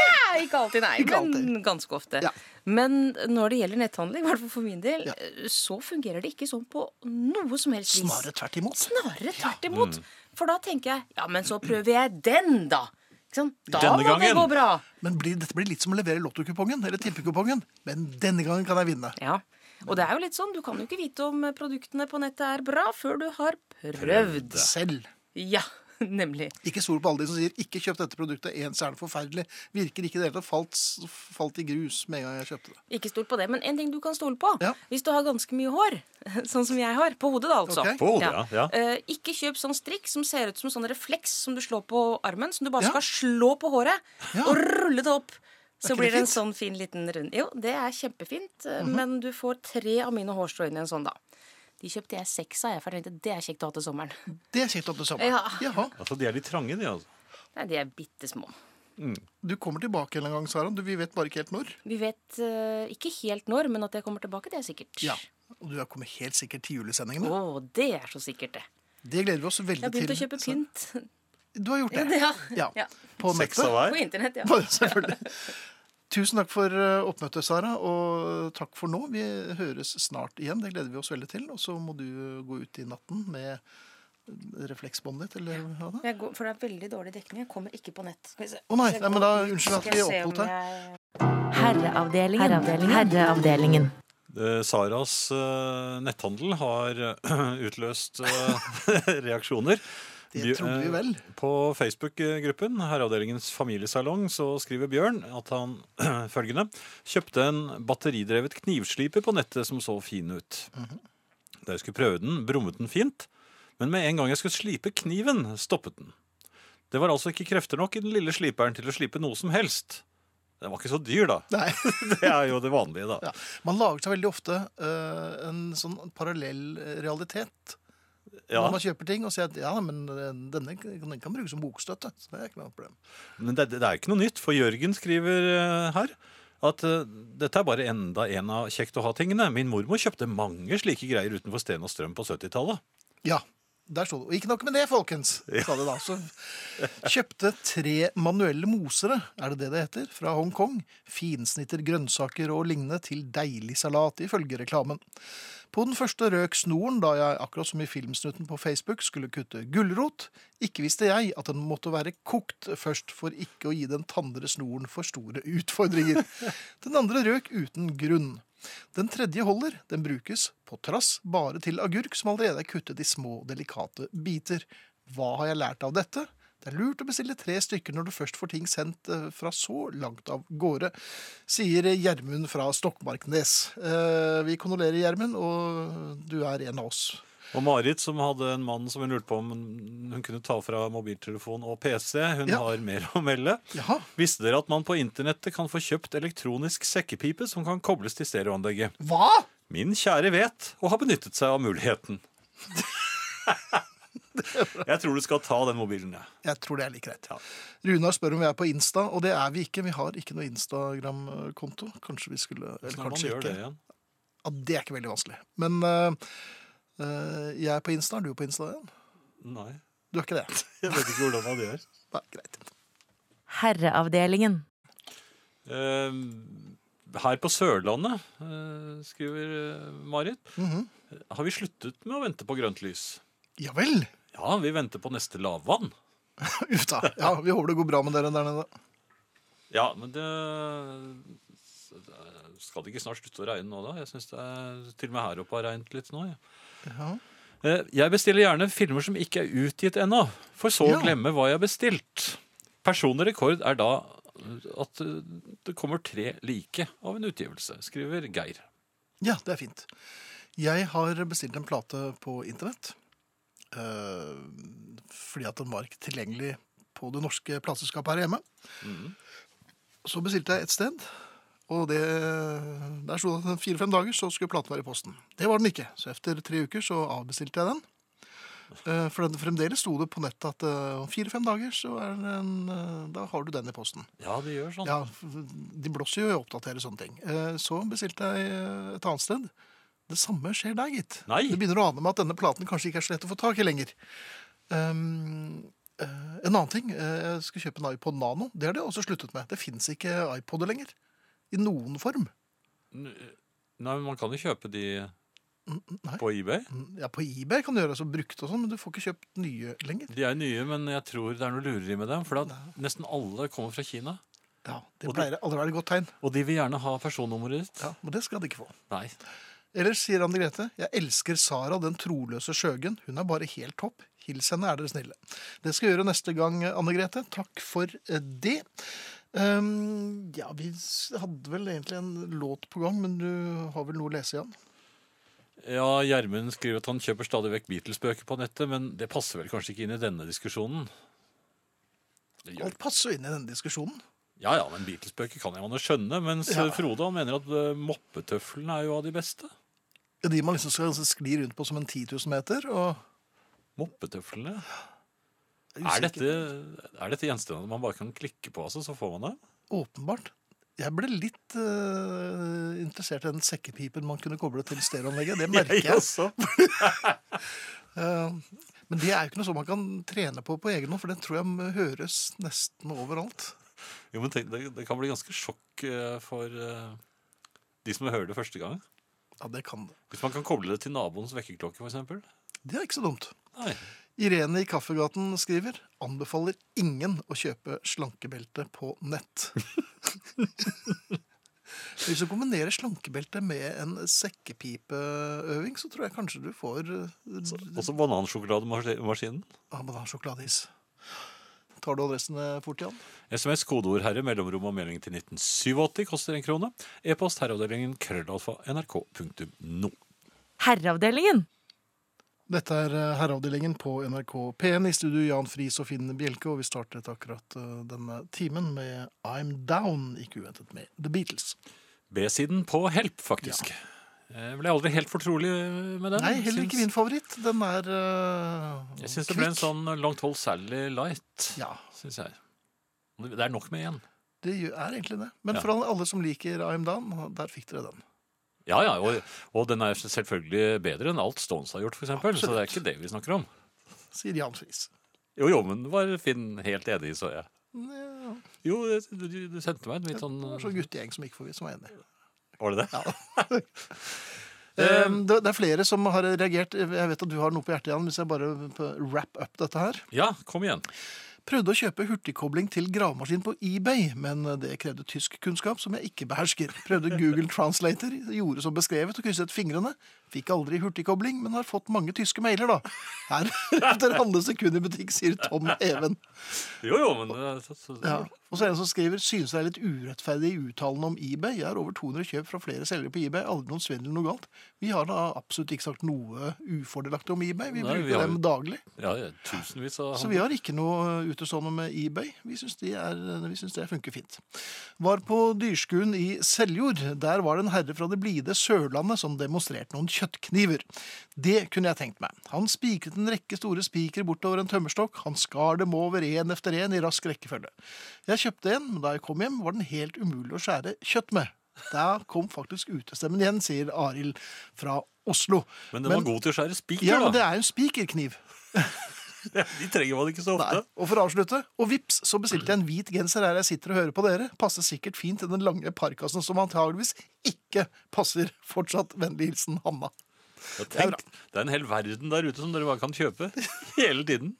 S5: nei, ikke alltid, nei.
S2: Ikke
S5: Men ganske ofte.
S2: Ja.
S5: Men når det gjelder netthandel, i hvert fall for min del, øh,
S2: Ja.
S5: så fungerer det ikke sånn på noe som helst vis.
S2: Snarere tvert imot.
S5: Snarere tvert imot. For da tenker jeg ja, men så prøver jeg den, da. Ikke sant? Da
S3: Denne
S5: må det
S3: gangen.
S5: gå bra.
S2: Men blir, dette blir litt som å levere lottokupongen eller tippekupongen. Men denne gangen kan jeg vinne.
S5: Ja. Og det er jo litt sånn, du kan jo ikke vite om produktene på nettet er bra før du har prøvd.
S2: Selv.
S5: Ja, (laughs) nemlig.
S2: Ikke stol på alle de som sier 'ikke kjøp dette produktet', én stjerne forferdelig. Virker ikke i det hele tatt. Falt, s- falt i grus med en gang jeg kjøpte det.
S5: Ikke stol på det, men en ting du kan stole på.
S2: Ja.
S5: Hvis du har ganske mye hår, (laughs) sånn som jeg har, på hodet da altså.
S2: Ok.
S3: På hodet, ja, ja.
S5: Eh, ikke kjøp sånn strikk som ser ut som sånn refleks som du slår på armen, som du bare
S2: Ja.
S5: skal slå på håret
S2: Ja.
S5: og rulle det opp. Så
S2: ikke
S5: blir
S2: det
S5: det en
S2: fint? Mhm.
S5: sånn fin liten rund. Jo, det er kjempefint, eh, men du får tre av mine hårstrå inn i en sånn, da. De kjøpte jeg seks av, jeg, for jeg tenkte det er kjekt å ha til sommeren.
S2: Det er kjekt at det samme.
S5: Ja.
S2: Jaha.
S3: Altså, De er litt trange, de. altså.
S5: Nei, de er bitte små.
S2: Du kommer tilbake en eller annen gang, Sara. Du, vi vet bare ikke helt når.
S5: Vi vet eh, ikke helt når, men at jeg kommer tilbake, det er sikkert.
S2: Ja. Og du er kommet helt sikkert til julesendingene.
S5: Å, det er så sikkert, det.
S2: Det gleder vi oss
S5: Jeg
S2: veldig
S5: har begynt å kjøpe
S2: til.
S5: pynt
S2: Du har gjort det?
S5: (laughs) Ja,
S2: Ja.
S5: ja.
S2: På
S3: Seks av
S2: nettet?
S5: på
S3: hver.
S5: internett, ja.
S2: Bare selvfølgelig. Tusen takk for eh, oppmøtet, Sara, og takk for nå. Vi høres snart igjen. Det gleder vi oss veldig til. Og så må du gå ut i natten med refleksbåndet ditt, eller hva det er.
S5: Jeg går, for det er veldig dårlig dekning. Jeg kommer ikke på nett. Skal vi se.
S2: Å nei,
S5: Jeg
S2: nei, men
S5: går
S2: da-
S5: ut.
S2: unnskyld at
S5: Skal jeg
S2: vi
S5: se om
S2: oppholdt deg.
S5: jeg-
S4: Herreavdelingen. Herreavdelingen.
S3: Eh, Saras eh, netthandel har eh, (clears throat) utløst eh, (laughs) reaksjoner.
S2: Det
S3: Bjø-
S2: trodde vi
S3: eh,
S2: vel.
S3: På Facebook-gruppen Herreavdelingens familiesalong så skriver Bjørn at han (clears throat) følgende kjøpte en batteridrevet knivsliper på nettet som så fin ut.
S2: Mhm.
S3: Da jeg skulle prøve den, brummet den fint, men med en gang jeg skulle slipe kniven, stoppet den. Det var altså ikke krefter nok i den lille sliperen til å slipe noe som helst. Den var ikke så dyr, da.
S2: Nei.
S3: (laughs) Det er jo det vanlige, da.
S2: Ja. Man lager seg veldig ofte eh, en sånn parallell realitet
S3: Ja.
S2: når man kjøper ting, og sier at ja, men eh, denne den kan brukes som bokstøtte. Så det er ikke noe problem.
S3: Men det, det er ikke noe nytt, for Jørgen skriver eh, her at eh, dette er bare enda en av kjekt å ha-tingene. Min mormor kjøpte mange slike greier utenfor Sten og Strøm på 70-tallet.
S2: Ja, der sto det. Og ikke nok med det, folkens, sa det da. Så kjøpte tre manuelle mosere, er det det det heter, fra Hongkong. Finsnitter, grønnsaker og lignende til deilig salat, ifølge reklamen. På den første røk snoren da jeg, akkurat som i filmsnutten på Facebook, skulle kutte gulrot. Ikke visste jeg at den måtte være kokt først for ikke å gi den tandre snoren for store utfordringer. Den andre røk uten grunn. Den tredje holder, den brukes på trass bare til agurk som allerede er kuttet i små, delikate biter. Hva har jeg lært av dette? Det er lurt å bestille tre stykker når du først får ting sendt eh, fra så langt av gårde, sier Gjermund fra Stokmarknes. Eh, Vi kondolerer, Gjermund, og du er en av oss.
S3: Og Marit, som hadde en mann som hun lurte på om hun kunne ta fra mobiltelefon og PC, hun
S2: Ja.
S3: har mer å melde.
S2: Jaha,
S3: Visste dere at man på internettet kan få kjøpt elektronisk sekkepipe som kan kobles til stereoanlegget?
S2: hva?
S3: Min kjære vet, og har benyttet seg av
S2: (laughs)
S3: muligheten. Jeg tror du skal ta den mobilen, jeg.
S2: Jeg tror det er like greit.
S3: Ja.
S2: Runar spør om vi er på Insta, og det er vi ikke. Vi har ikke noe Instagram-konto. Kanskje vi skulle eller
S3: Når man
S2: kanskje
S3: gjør
S2: ikke.
S3: det igjen.
S2: Ja, det er ikke veldig vanskelig. Men eh, eh, jeg er på Insta. Er du på Insta igjen?
S3: Nei,
S2: Du er ikke
S3: (laughs)
S2: det?
S3: jeg vet ikke hvordan man gjør.
S2: Nei, greit.
S4: Herreavdelingen.
S3: Eh, her på Sørlandet, eh, skriver eh, Marit, har vi sluttet med å vente på grønt lys.
S2: Ja vel. (laughs)
S3: Ja, vi venter på neste lavvann.
S2: Uff da. Ja, vi håper det går bra med dere der nede.
S3: Ja, men det skal det ikke snart slutte å regne nå, da? Jeg synes det er, Til og med her oppe har regnet litt nå. Ja.
S2: Ja.
S3: Eh, Jeg bestiller gjerne filmer som ikke er utgitt ennå, for så å
S2: Ja.
S3: glemme hva jeg har bestilt. Personlig rekord er da at eh, det kommer tre like av en utgivelse, skriver Geir.
S2: Ja, det er fint. Jeg har bestilt en plate på internett. eh, fordi at den var ikke tilgjengelig på det norske plateselskapet her hjemme. Så bestilte jeg et sted, og det, der sto det at fire-fem dager så skulle platen være i posten. Det var den ikke, så etter tre uker så avbestilte jeg den. Eh, For den, fremdeles sto det på nettet at eh, om fire-fem dager så er den, eh, da har du den i posten.
S3: Ja, det gjør sånn.
S2: Ja, f- de blåser jo i å oppdatere sånne ting. Eh, Så bestilte jeg eh, et annet sted. Det samme skjer der, gitt.
S3: Nei.
S2: Det begynner å ane meg at denne platen kanskje ikke er så lett å få tak i lenger. Um, Eh, En annen ting, eh, jeg skulle kjøpe en iPod Nano. Det har de også sluttet med. Det fins ikke iPoder lenger. I noen form.
S3: Nei, men Man kan jo kjøpe de
S2: Nei. Mm.
S3: på eBay.
S2: Ja, På eBay kan du gjøre det så brukt og sånn, men du får ikke kjøpt nye lenger.
S3: De er nye, men jeg tror det er noe lureri med dem. For at nesten alle kommer fra Kina.
S2: Ja, Det
S3: Og de-
S2: pleier aldri å være et godt tegn.
S3: Og de vil gjerne ha personnummeret ditt.
S2: Ja, Men det skal de ikke få.
S3: Nei.
S2: Ellers sier Anne Grete Jeg elsker Sara, den troløse sjøgen. Hun er bare helt topp. Hils henne, er dere snille. Det skal jeg gjøre neste gang, Anne Grete. Takk for eh, det. Ehm, ja, vi s- hadde vel egentlig en låt på gang, men du har vel noe å lese igjen?
S3: Ja, Gjermund skriver at han kjøper stadig vekk Beatles-bøker på nettet, men det passer vel kanskje ikke inn i denne diskusjonen. Det gjør
S2: Alt passer jo inn i denne diskusjonen.
S3: Ja, ja, men Beatles-bøker kan jeg man jo skjønne, mens
S2: Ja.
S3: eh, Frode han mener at eh, moppetøflene er jo av de beste.
S2: Det er De man liksom skal skli rundt på som en 10 000 meter. Og
S3: Moppetøflene? Er dette, er dette gjenstandene man bare kan klikke på, altså, så får man det?
S2: Åpenbart. Jeg ble litt eh, interessert i den sekkepipen man kunne koble til stereoanlegget.
S3: (laughs)
S2: Det (laughs) merker jeg.
S3: også.
S2: Eh, Men det er jo ikke noe sånn man kan trene på på egen hånd, for det tror jeg m- høres nesten overalt.
S3: Jo, men tenk, det, det kan bli ganske sjokk eh, for eh, de som hører det første gang.
S2: Ja, det kan det.
S3: Hvis man kan koble det til naboens vekkerklokke, for eksempel.
S2: Det er ikke så dumt.
S3: Nei.
S2: Irene i Kaffegaten skriver anbefaler ingen å kjøpe slankebelte på nett. (laughs) Hvis du kombinerer slankebelte med en sekkepipeøving, så tror jeg kanskje du får eh,
S3: Også banansjokolademaskinen.
S2: ah, men da, sjokoladeis. Tar du adressene fort igjen?
S3: SMS, kodeord herre, mellomrom og melding til 1987 koster en krone. E-post herreavdelingen krøllalfa nrk.no.
S4: Herreavdelingen.
S2: Dette er eh, herreavdelingen på NRK P1 i studio Jan Friis og Finn Bjelke, og vi startet akkurat eh, denne timen med I'm Down, ikke uventet med The Beatles.
S3: B-siden på help, faktisk. Jeg ble aldri helt fortrolig med den.
S2: Nei, heller ikke
S3: Syns-
S2: min favoritt. Den er eh,
S3: Jeg syns det ble en
S2: kvikk.
S3: sånn langt hold Sally light,
S2: Ja,
S3: syns jeg. Det er nok med igjen.
S2: det gjør- er egentlig det. Men
S3: Ja.
S2: for alle- alle som liker I'm Down, der fikk dere den.
S3: Ja, ja, og, og den er selvfølgelig bedre enn alt Stones har gjort, for eksempel, Så det er ikke det vi snakker om.
S2: Sier Jan Friis.
S3: Jo, jo, men var Finn helt enig i, så jeg.
S2: Ja,
S3: Jo, du, du du sendte meg en litt
S2: det
S3: sånn
S2: var sånn guttegjeng som gikk forbi, som var enig.
S3: Var det det? Um,
S2: Eh, Det det er flere som har reagert. Jeg vet at du har noe på hjertet, Jan, hvis jeg bare wrap up dette her.
S3: Ja, kom igjen.
S2: Prøvde å kjøpe hurtigkobling til gravemaskin på eBay, men det krevde tyskkunnskap som jeg ikke behersker. Prøvde Google Translator, gjorde som beskrevet og krysset fingrene. Fikk aldri hurtigkobling, men har fått mange tyske mailer, da. (laughs) Heretter handles det kun i butikk, sier Tom Even.
S3: Jo, jo, men eh, så, så,
S2: Ja. Og så er det en som skriver synes det er litt urettferdig i uttalen om eBay. Jeg har over 200 kjøp fra flere selgere på eBay. Aldri noen svindel eller noe galt. Vi har da absolutt ikke sagt noe ufordelaktig om eBay. Vi
S3: Nei, vi
S2: bruker
S3: har-
S2: dem daglig.
S3: ja, ja, tusenvis av
S2: Så vi har ikke noe utestående med eBay. Vi syns de er- eh, vi syns det funker fint. Var på dyrskuen i Seljord. Der var det en herre fra det blide Sørlandet som demonstrerte noen kjøttkniver. Det kunne jeg tenkt meg. Han spikret en rekke store spikere bortover en tømmerstokk. Han skar dem over én efter én i rask rekkefølge. Jeg kjøpte en, men da jeg kom hjem, var den helt umulig å skjære kjøtt med. Da kom faktisk utestemmen igjen, sier Arild fra Oslo.
S3: Men den var god til å skjære spiker,
S2: Ja, men det
S3: da.
S2: er jo en spikerkniv.
S3: De trenger man ikke så ofte.
S2: Nei. Og for å avslutte, og vips, så bestilte jeg en hvit genser her jeg sitter og hører på dere. Passer sikkert fint til den lange parkasen som antageligvis ikke passer. Fortsatt vennlig hilsen Hanna.
S3: Ja,
S2: er
S3: tenk, det er en hel verden der ute som dere bare kan kjøpe (laughs) hele tiden.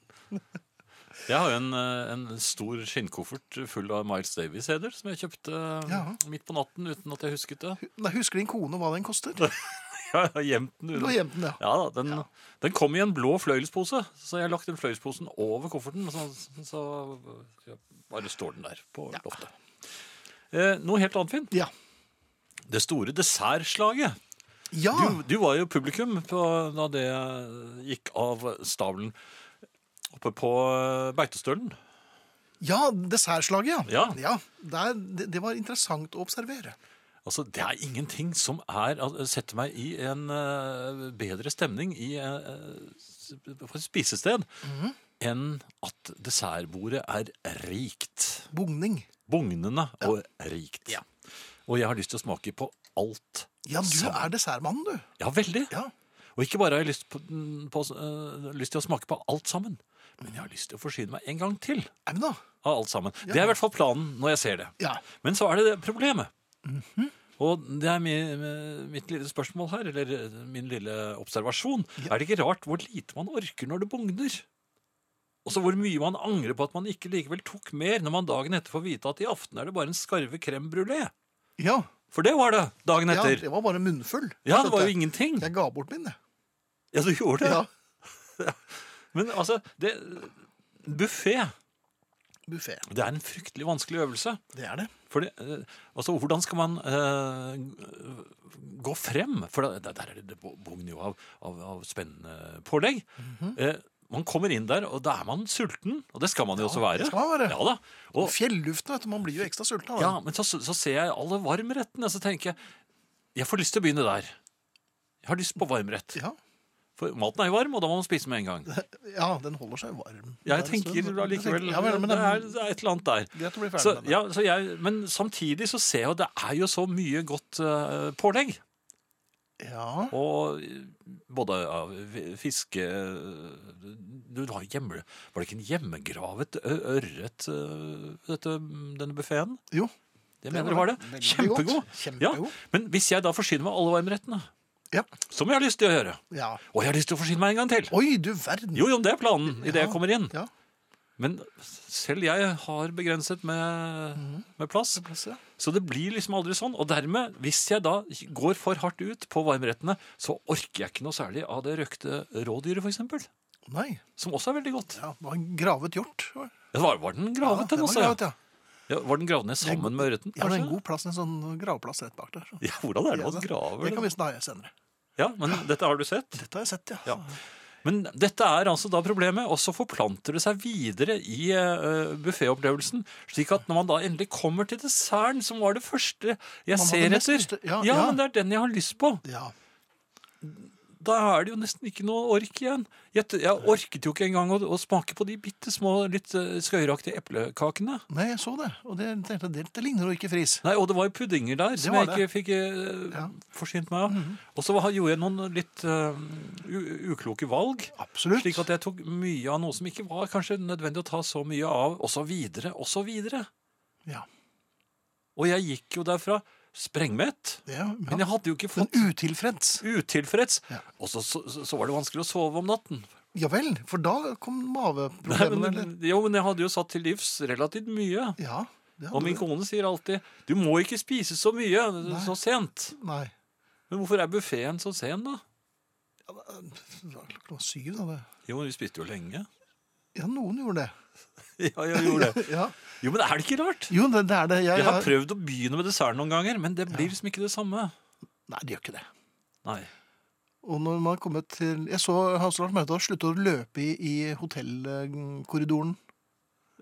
S3: Jeg har jo en, eh, en stor skinnkoffert full av Miles Davies-heder som jeg kjøpte eh,
S2: Ja.
S3: midt på natten uten at jeg husket det.
S2: Nei, Husker din kone hva den koster? Du
S3: Jeg har gjemt den
S2: har
S3: under.
S2: gjemt den, ja.
S3: Ja, da, den, den kom i en blå fløyelspose, så jeg har lagt den fløyelsposen over kofferten. Så, så ja, bare står den der på loftet. Eh, noe helt annet, Finn.
S2: Ja.
S3: Det store dessertslaget.
S2: ja.
S3: Du, du var jo publikum på, da det gikk av stabelen oppe på eh, Beitostølen.
S2: Ja, dessertslaget, ja.
S3: Ja.
S2: der, det, det var interessant å observere.
S3: Altså, Det er ingenting som er, al- setter meg i en eh, bedre stemning i, eh, s- på et spisested
S2: Mhm.
S3: enn at dessertbordet er rikt.
S2: Bugning.
S3: Bugnende og rikt.
S2: Ja.
S3: Og jeg har lyst til å smake på alt
S2: Ja, du
S3: sammen.
S2: er dessertmannen, du.
S3: Ja, veldig.
S2: Ja.
S3: Og ikke bare har jeg lyst, på, på, eh, lyst til å smake på alt sammen, men jeg har lyst til å forsyne meg en gang til
S2: Nei, men da.
S3: av alt sammen. Det er i hvert fall planen når jeg ser det.
S2: Ja.
S3: Men så er det det problemet.
S2: Mhm.
S3: Og det er mi- mitt lille spørsmål her, eller eh, min lille observasjon. Er det ikke rart hvor lite man orker når det bugner? Og så hvor mye man angrer på at man ikke likevel tok mer, når man dagen etter får vite at i aften er det bare en skarve crème brulé.
S2: Ja.
S3: For det var det dagen
S2: ja,
S3: etter.
S2: det var bare en munnfull.
S3: Sånn Ja, det var jo
S2: Skjønte jeg.
S3: ingenting.
S2: Jeg ga bort min, jeg.
S3: Ja, du gjorde det.
S2: Ja.
S3: Men altså, det Buffé,
S2: Buffé.
S3: det er en fryktelig vanskelig øvelse.
S2: Det er det.
S3: Fordi, eh, altså, hvordan skal man eh, gå frem? For da- der er det- det bugner jo av, av, av spennende pålegg.
S2: Mhm.
S3: Eh, man kommer inn der, og da er man sulten. Og det skal man jo også være.
S2: det skal man være.
S3: Ja, da. Og,
S2: Fjelluften, vet du. Man blir jo ekstra sulten av den.
S3: ja, men så, så ser jeg alle varmrettene, så tenker jeg jeg får lyst til å begynne der. Jeg har lyst på varmrett.
S2: Ja.
S3: For maten er jo varm, og da må man spise med en gang.
S2: ja, den holder seg varm.
S3: Jeg
S2: Der en
S3: tenker
S2: stund.
S3: allikevel
S2: ja, men, men,
S3: det, er,
S2: den-
S3: det er et eller annet der.
S2: Greit å bli ferdig
S3: Så,
S2: med det.
S3: ja, så jeg, men samtidig så ser jeg jo det er jo så mye godt eh, pålegg.
S2: ja.
S3: Og eh, både av fiske eh, Du har jo hjemme... Var det ikke en hjemmegravet ø- ørret, ø, dette, denne buffeen?
S2: Jo.
S3: Jeg mener det var det.
S2: veldig
S3: Kjempegod.
S2: godt.
S3: Ja,
S2: Kjempegod.
S3: men hvis jeg da forsyner meg alle varmrettene,
S2: Ja.
S3: som jeg har lyst til å gjøre
S2: ja.
S3: Og jeg har lyst til å forsyne meg en gang til!
S2: Oi, du verden.
S3: Jo, jo, det er planen idet jeg kommer inn.
S2: Ja.
S3: Men selv jeg har begrenset med, med plass.
S2: Mhm. Plass, ja.
S3: Så det blir liksom aldri sånn. Og dermed, hvis jeg da går for hardt ut på varmrettene, så orker jeg ikke noe særlig av det røkte rådyret, f.eks.
S2: Nei.
S3: Som også er veldig godt.
S2: Ja, det var en gravet hjort. Ja,
S3: Ja, var, var den
S2: den
S3: gravet, den
S2: var
S3: også?
S2: gravet,
S3: ja.
S2: ja.
S3: Ja, var den gravd ned
S2: Det
S3: sammen med ørreten?
S2: Ja, det er en
S3: kanskje?
S2: god plass, en sånn gravplass rett bak der. Så.
S3: Ja, hvordan er det
S2: Ja,
S3: man
S2: det-
S3: graver
S2: Det kan vi
S3: den?
S2: snakke senere.
S3: Ja, men dette har du sett?
S2: Dette har jeg sett, ja.
S3: Ja. Men dette er altså da problemet, og så forplanter det seg videre i uh, bufféopplevelsen. Slik at når man da endelig kommer til desserten, som var det første jeg
S2: hadde
S3: ser
S2: nest
S3: etter
S2: lyst til- ja,
S3: ja,
S2: ja.
S3: men det er den jeg har lyst på.
S2: Ja.
S3: Da er det jo nesten ikke noe ork igjen. Jeg, t- jeg orket jo ikke engang å, å smake på de bitte små, litt eh, skøyeraktige eplekakene.
S2: Nei, jeg så det, og det, tenkte, jeg, det, det ligner jo ikke fris.
S3: Nei, og det var jo puddinger der som
S2: var
S3: jeg ikke fikk eh,
S2: Ja. Mhm.
S3: forsynt meg av. Og så var- gjorde jeg noen litt eh, u ukloke valg.
S2: Absolutt.
S3: Slik at jeg tok mye av noe som ikke var kanskje nødvendig å ta så mye av, og så videre, og så videre.
S2: Ja.
S3: Og jeg gikk jo derfra sprengmett,
S2: Det, er-
S3: men
S2: ja.
S3: jeg hadde jo ikke
S2: Men
S3: fått
S2: utilfreds.
S3: utilfreds.
S2: Ja.
S3: Og så, så, så var det vanskelig å sove om natten.
S2: Ja vel, for da kom
S3: Nei,
S2: maveproblemene. eller?
S3: men, jo, men jeg hadde jo satt til livs relativt mye.
S2: Ja, det
S3: Og
S2: hadde
S3: min
S2: du.
S3: kone sier alltid 'du må ikke spise så mye så sent'.
S2: Nei.
S3: Men hvorfor er buffeen så sen, da?
S2: Det var klokka syv, da. Det.
S3: Jo, men vi spiste jo lenge.
S2: Ja, noen gjorde det.
S3: (laughs) Ja, jeg gjorde det.
S2: Ja.
S3: Jo, men er det ikke rart?
S2: Jo, det, det er det. Jeg,
S3: Jeg har
S2: jeg-
S3: prøvd å begynne med dessert noen ganger, men det blir liksom ikke det samme.
S2: Nei, det gjør ikke det.
S3: Nei.
S2: Og når man har kommet til Jeg så Hans Lars Maurstad slutte å løpe i, i hotellkorridoren.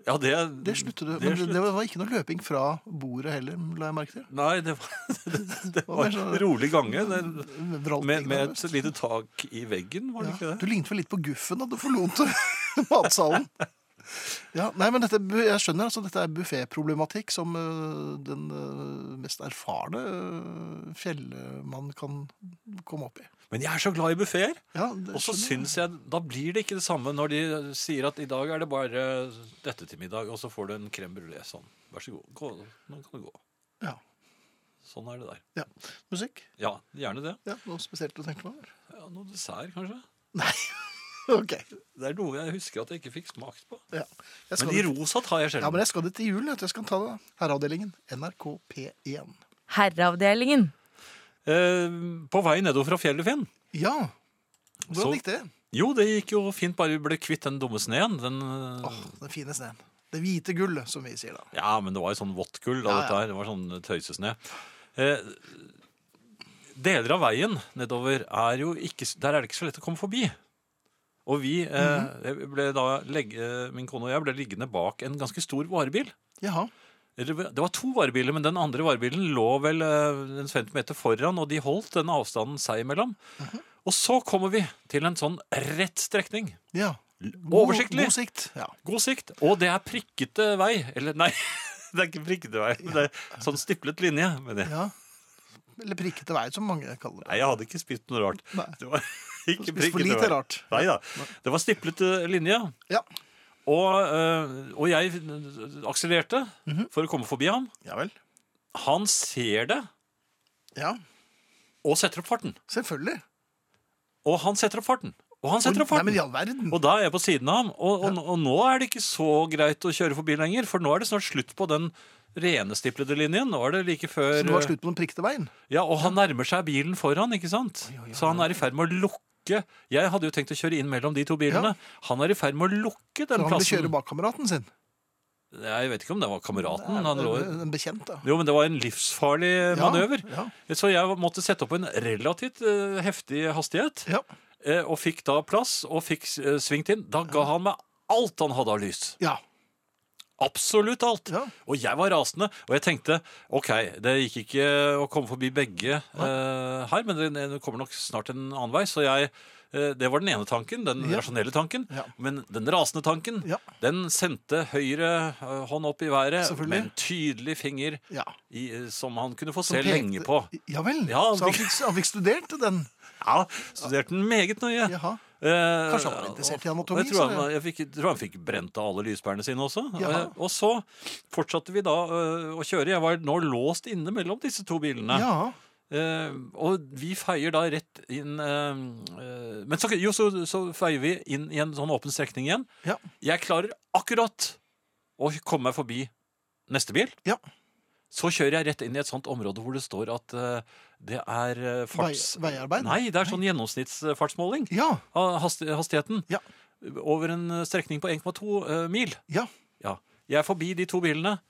S3: Ja, det,
S2: Det sluttet du.
S3: Mm, det
S2: Men det,
S3: slutt-
S2: det var ikke noe løping fra bordet heller, la jeg merke til.
S3: Nei, det var, det, det
S2: var
S3: var
S2: sånn-
S3: rolig gange. Det,
S2: Vralting
S3: med, med
S2: nærmest.
S3: et lite tak i veggen, var det
S2: Ja,
S3: ikke det?
S2: Du lignet vel litt på guffen da du forlot (laughs) matsalen. Ja, nei, men dette, bu- jeg skjønner altså, dette er bufféproblematikk som øh, den øh, mest erfarne øh, fjellmann kan komme opp i.
S3: Men jeg er så glad i buffeer.
S2: Ja, det
S3: Og så
S2: skjønner jeg.
S3: syns jeg Da blir det ikke det samme når de sier at i dag er det bare dette til middag, og så får du en crème brulé. Sånn. Vær så god. Gå, nå kan du gå.
S2: Ja.
S3: Sånn er det der.
S2: ja. Musikk?
S3: Ja, gjerne det.
S2: Ja, noe spesielt du tenkte på? (laughs) eller?
S3: Ja, noe dessert, kanskje?
S2: (laughs) Ok.
S3: Det er noe jeg husker at jeg ikke fikk smakt på.
S2: Ja. Jeg skal
S3: Men de
S2: dit-
S3: rosa tar jeg
S2: ja,
S3: sjelden.
S2: men jeg skal dit til julen. vet du. Jeg skal ta det. Herreavdelingen. NRK P1.
S4: Herreavdelingen.
S3: Eh, på vei nedover fra fjellet, Finn.
S2: Ja. Hvordan
S3: Så-
S2: gikk det?
S3: Jo, det gikk jo fint, bare vi ble kvitt den dumme sneen. Den, eh,
S2: Åh, den fine sneen. Det hvite gullet, som vi sier da.
S3: Ja, men det var jo sånn vått gull,
S2: Ja,
S3: da, dette
S2: ja.
S3: her. Det var sånn tøysesne. Eh, deler av veien nedover er jo ikke Der er det ikke så lett å komme forbi. Og vi eh,
S2: Mhm.
S3: ble da legge, eh, Min kone og jeg ble liggende bak en ganske stor varebil.
S2: Jaha.
S3: Eller, Det var to varebiler, men den andre varebilen lå vel eh, en 50 meter foran, og de holdt den avstanden seg imellom.
S2: Mhm.
S3: Og så kommer vi til en sånn rett strekning.
S2: Ja. God,
S3: Oversiktlig.
S2: god sikt. Ja.
S3: God sikt. Og det er prikkete vei. Eller nei, (laughs) det er ikke prikkete vei. men Det er sånn stiplet linje. Men jeg,
S2: Ja. Eller prikkete vei, som mange kaller det.
S3: nei, jeg hadde ikke spist noe rart.
S2: Nei.
S3: Det var, (laughs) Ikke
S2: Spist for
S3: prikket
S2: lite
S3: over.
S2: rart.
S3: Nei da. Det var stiplet eh, linje.
S2: Ja.
S3: Og, eh, og jeg eh, akselererte
S2: Mhm.
S3: for å komme forbi ham.
S2: ja vel.
S3: Han ser det
S2: Ja,
S3: og setter opp farten.
S2: selvfølgelig.
S3: Og han setter opp farten. Og han setter opp
S2: Nei,
S3: farten.
S2: men i all verden.
S3: Og da er jeg på siden av ham. Og, og, og nå er det ikke så greit å kjøre forbi lenger, for nå er det snart slutt på den renestiplede linjen. Nå er det like før eh,
S2: Så det var slutt på den prikkete veien.
S3: Ja, Og han nærmer seg bilen foran, ikke sant? Så han er i ferd med å lukke Jeg hadde jo tenkt å kjøre inn mellom de to bilene. Han er i ferd med å lukke
S2: Så
S3: den
S2: han ville
S3: plassen.
S2: kjøre bakkameraten sin.
S3: Jeg vet ikke om det var kameraten. Han lå...
S2: En bekjent, da.
S3: Jo, men det var en livsfarlig
S2: Ja,
S3: eh, manøver.
S2: ja.
S3: Så jeg måtte sette opp en relativt eh, heftig hastighet.
S2: Ja.
S3: eh, og fikk da plass, og fikk eh, svingt inn. Da ga han meg alt han hadde av lys.
S2: ja.
S3: Absolutt alt.
S2: Ja.
S3: Og jeg var rasende. Og jeg tenkte ok, det gikk ikke å komme forbi begge eh, her, men det det kommer nok snart en annen vei. Så jeg eh, Det var den ene tanken, den
S2: Ja.
S3: rasjonelle tanken.
S2: Ja.
S3: Men den rasende tanken,
S2: Ja.
S3: den sendte høyre eh, hånd opp i været
S2: Selvfølgelig.
S3: med en tydelig finger
S2: Ja.
S3: i, eh, som han kunne få
S2: Som
S3: se
S2: pekte-
S3: lenge på.
S2: Ja vel.
S3: Ja, han
S2: så han
S3: fikk-
S2: fikk, han fikk studert den.
S3: Ja, studerte den meget nøye.
S2: Jaha.
S3: Eh,
S2: Kanskje han var interessert i anatomi,
S3: og Jeg tror
S2: så det-
S3: han, jeg, fikk, tror han fikk brent av alle lyspærene sine også.
S2: Jaha.
S3: Eh, Og så fortsatte vi da eh, å kjøre. Jeg var nå låst inne mellom disse to bilene.
S2: Ja.
S3: Eh, og vi feier da rett inn eh, eh, Men så, jo, så, så feier vi inn i en sånn åpen strekning igjen.
S2: Ja.
S3: Jeg klarer akkurat å komme meg forbi neste bil.
S2: Ja.
S3: Så kjører jeg rett inn i et sånt område hvor det står at eh, det er eh, farts...
S2: Vei- veiarbeid?
S3: Nei, det er sånn gjennomsnittsfartsmåling
S2: Ja.
S3: av hast- hastigheten
S2: Ja.
S3: over en eh, strekning på 1,2 eh, mil.
S2: Ja. Mhm.
S3: Ja. Jeg er forbi de to bilene.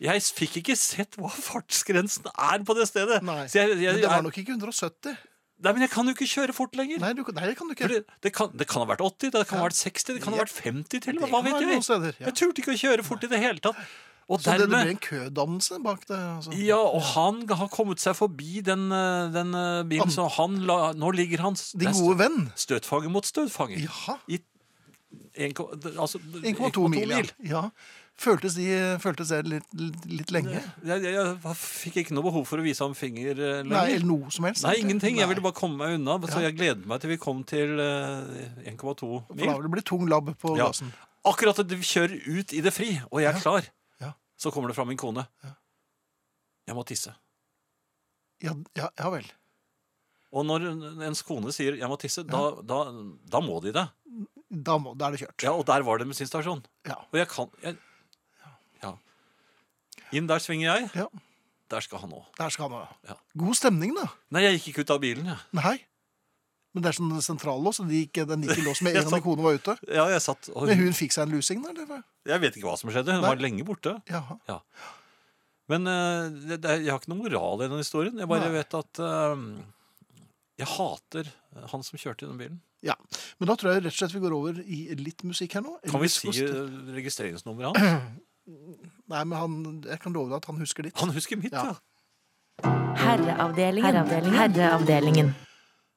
S3: Jeg s- fikk ikke sett hva fartsgrensen er på det stedet.
S2: Nei.
S3: Så jeg, jeg,
S2: Men det var
S3: jeg,
S2: nok ikke 170.
S3: nei, men jeg kan jo ikke kjøre fort lenger.
S2: Nei, du, nei det kan du ikke.
S3: For Det, det, kan, det kan ha vært 80, det kan ha vært 60, det kan ha
S2: Ja.
S3: vært 50 til.
S2: Det
S3: og med, Hva
S2: kan være
S3: vet
S2: noen
S3: jeg?
S2: steder, ja.
S3: Jeg turte ikke å kjøre fort i det hele tatt. Og
S2: Så det, det ble
S3: dermed
S2: en kødannelse bak det? Altså.
S3: ja, og han har kommet seg forbi den, eh, den eh, bilen, så han la, nå ligger han s- det
S2: Din
S3: er
S2: gode venn?
S3: stø- Støtfanger mot støtfanger.
S2: Jaha.
S3: I 1, altså,
S2: 1,2 mil, ja. ja. Føltes, de, føltes det litt, litt, litt lenge?
S3: Jeg, jeg, jeg fikk ikke noe behov for å vise ham finger eh, lenger.
S2: Nei, eller noe som helst?
S3: Nei,
S2: egentlig.
S3: ingenting. Jeg
S2: Nei.
S3: ville bare komme meg unna. Så
S2: Ja.
S3: jeg gleder meg til vi kom til eh, 1,2
S2: For da
S3: mil.
S2: vil det bli tung labb på
S3: Ja.
S2: gassen.
S3: Akkurat at vi kjører ut i det fri, og jeg er klar,
S2: Ja.
S3: så kommer det fra min kone. Jeg må tisse.
S2: Ja, ja, ja vel.
S3: Og når en- ens kone sier 'jeg må tisse', da, da, da må de det.
S2: Da, må, da er det kjørt.
S3: Ja, Og der var det med sin stasjon.
S2: Ja.
S3: Og jeg kan jeg, Ja. Inn der svinger jeg.
S2: Ja.
S3: Der skal han òg.
S2: Der skal han ha.
S3: Ja.
S2: God stemning, da.
S3: Nei, jeg gikk ikke ut av bilen, jeg.
S2: Nei. Men det er sånn sentrallås, og de gikk, den gikk i lås
S3: (laughs)
S2: med
S3: Ja,
S2: en gang
S3: sant.
S2: kona var ute.
S3: Ja, jeg satt og
S2: Men hun fikk seg en lusing, da? eller hva?
S3: Jeg vet ikke hva som skjedde. Hun
S2: Nei.
S3: var lenge borte.
S2: Jaha.
S3: Men eh, det, det, jeg har ikke noe moral i den historien. Jeg bare
S2: Nei.
S3: vet at eh, jeg hater eh, han som kjørte i den bilen.
S2: Ja. Men da tror jeg rett og slett vi går over i litt musikk her nå.
S3: Kan vi
S2: Elvis
S3: si
S2: Costello.
S3: eh, (clears throat) registreringsnummeret hans?
S2: Nei, men han, jeg kan love deg at han husker ditt.
S3: Han husker mitt, ja.
S2: Ja.
S4: Herreavdelingen. Herreavdelingen.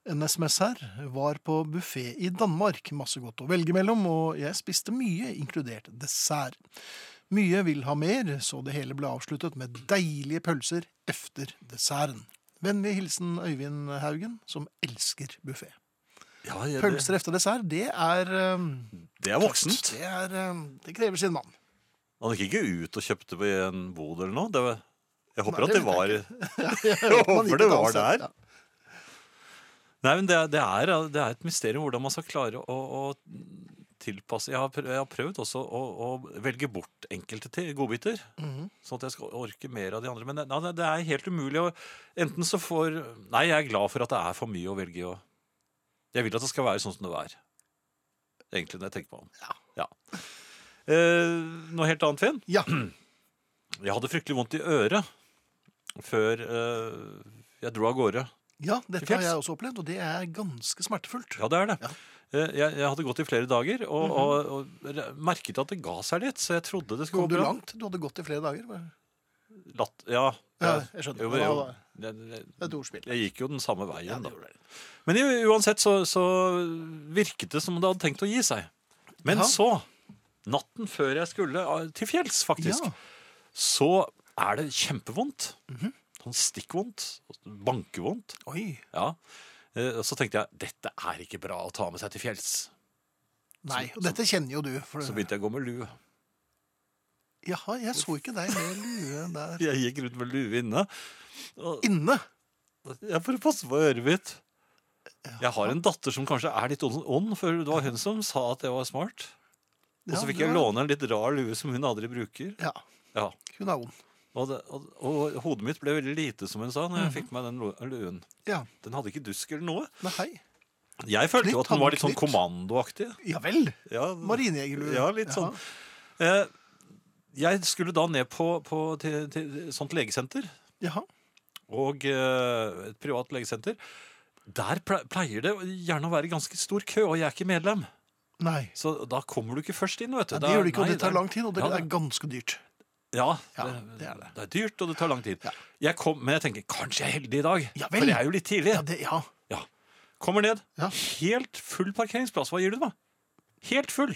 S2: En SMS her var på buffé i Danmark. Masse godt å velge mellom, og jeg spiste mye, inkludert dessert. Mye vil ha mer, så det hele ble avsluttet med deilige pølser efter desserten. Vennlig hilsen Øyvind Haugen, som elsker buffé.
S3: ja. ja det,
S2: Pølser efter dessert, det er eh,
S3: det er voksent.
S2: Det, er, eh, det krever sin
S3: (laughs)
S2: mann.
S3: Han gikk ikke ut og kjøpte på en bod eller noe. Det var, jeg håper
S2: Nei, det
S3: at det
S2: vet
S3: var
S2: Jeg
S3: håper det var der. Nei, men det, er- det, er, det er et mysterium hvordan man skal klare å, å tilpasse jeg har, prøvd, jeg har prøvd også å, å velge bort enkelte til godbiter, sånn at jeg skal orke mer av de andre. Men det, nei, det er helt umulig å Enten så får Nei, jeg er glad for at det er for mye å velge i. og Jeg vil at det skal være sånn som det er. Egentlig, når jeg tenker meg om. Ja. Eh, noe helt annet, Finn?
S2: Ja.
S3: Jeg hadde fryktelig vondt i øret før eh, jeg dro av gårde.
S2: ja, dette har
S3: Fjells.
S2: jeg også opplevd, og det er ganske smertefullt.
S3: Ja, det er det. Eh, Jeg, jeg hadde gått i flere dager og,
S2: Mhm.
S3: og, og re- merket at det ga seg litt, så jeg trodde det skulle
S2: Kom du
S3: gå bra.
S2: langt? Du hadde gått i flere dager.
S3: Latt, ja,
S2: Ja, jeg skjønner.
S3: Jo,
S2: Det
S3: jo,
S2: var-
S3: jeg, jeg,
S2: Et ordspill.
S3: jeg gikk jo den samme veien.
S2: det
S3: da.
S2: gjorde det.
S3: Men i- uansett så, så virket det som om det hadde tenkt å gi seg. Men
S2: Ja.
S3: så, natten før jeg skulle ah, til fjells, faktisk,
S2: Ja. Mhm.
S3: så er det kjempevondt. Sånn stikkvondt, bankevondt.
S2: Oi.
S3: Ja. Eh, Eh, og Så tenkte jeg dette er ikke bra å ta med seg til fjells.
S2: Nei, og dette kjenner jo du. For,
S3: Så begynte jeg å gå med lue.
S2: Jaha, jeg så ikke deg med lue der
S3: Jeg gikk rundt med lue inne. Og
S2: inne.
S3: jeg For å passe på øret mitt. Jeg har en datter som kanskje er litt ånd- ånd, for det var hun som sa at jeg var smart. Og
S2: Ja,
S3: så fikk
S2: du
S3: jeg
S2: er-
S3: låne en litt rar lue som hun aldri bruker.
S2: Ja,
S3: Ja,
S2: hun er ond.
S3: og, det, og, og hodet mitt ble veldig lite, som hun sa, når jeg fikk meg den lo- luen.
S2: Ja,
S3: Den hadde ikke dusk eller noe.
S2: nei, hei.
S3: Jeg følte jo
S2: Knytt,
S3: at den var litt sånn
S2: handknytt.
S3: kommandoaktig.
S2: Ja vel.
S3: Ja,
S2: Marinejegerlue.
S3: Ja, litt sånn. Eh, jeg skulle da ned på, på, til, til et sånt legesenter,
S2: Jaha.
S3: og eh, et privat legesenter. Der ple- pleier det gjerne å være ganske stor kø, og jeg er ikke medlem.
S2: Nei.
S3: Så da kommer du ikke først inn, vet du.
S2: Ja, det gjør det ikke, og
S3: nei,
S2: det tar lang tid, og det
S3: Ja,
S2: er ganske dyrt.
S3: Ja,
S2: Ja,
S3: det, det,
S2: det er
S3: er
S2: det.
S3: dyrt, og det tar lang tid.
S2: Ja.
S3: Jeg kom, men jeg tenker, kanskje jeg er heldig i dag,
S2: Ja vel.
S3: for jeg er jo litt tidlig.
S2: Ja, det, ja.
S3: Ja. Kommer ned.
S2: Ja.
S3: Helt full parkeringsplass. Hva gir du meg? Helt full.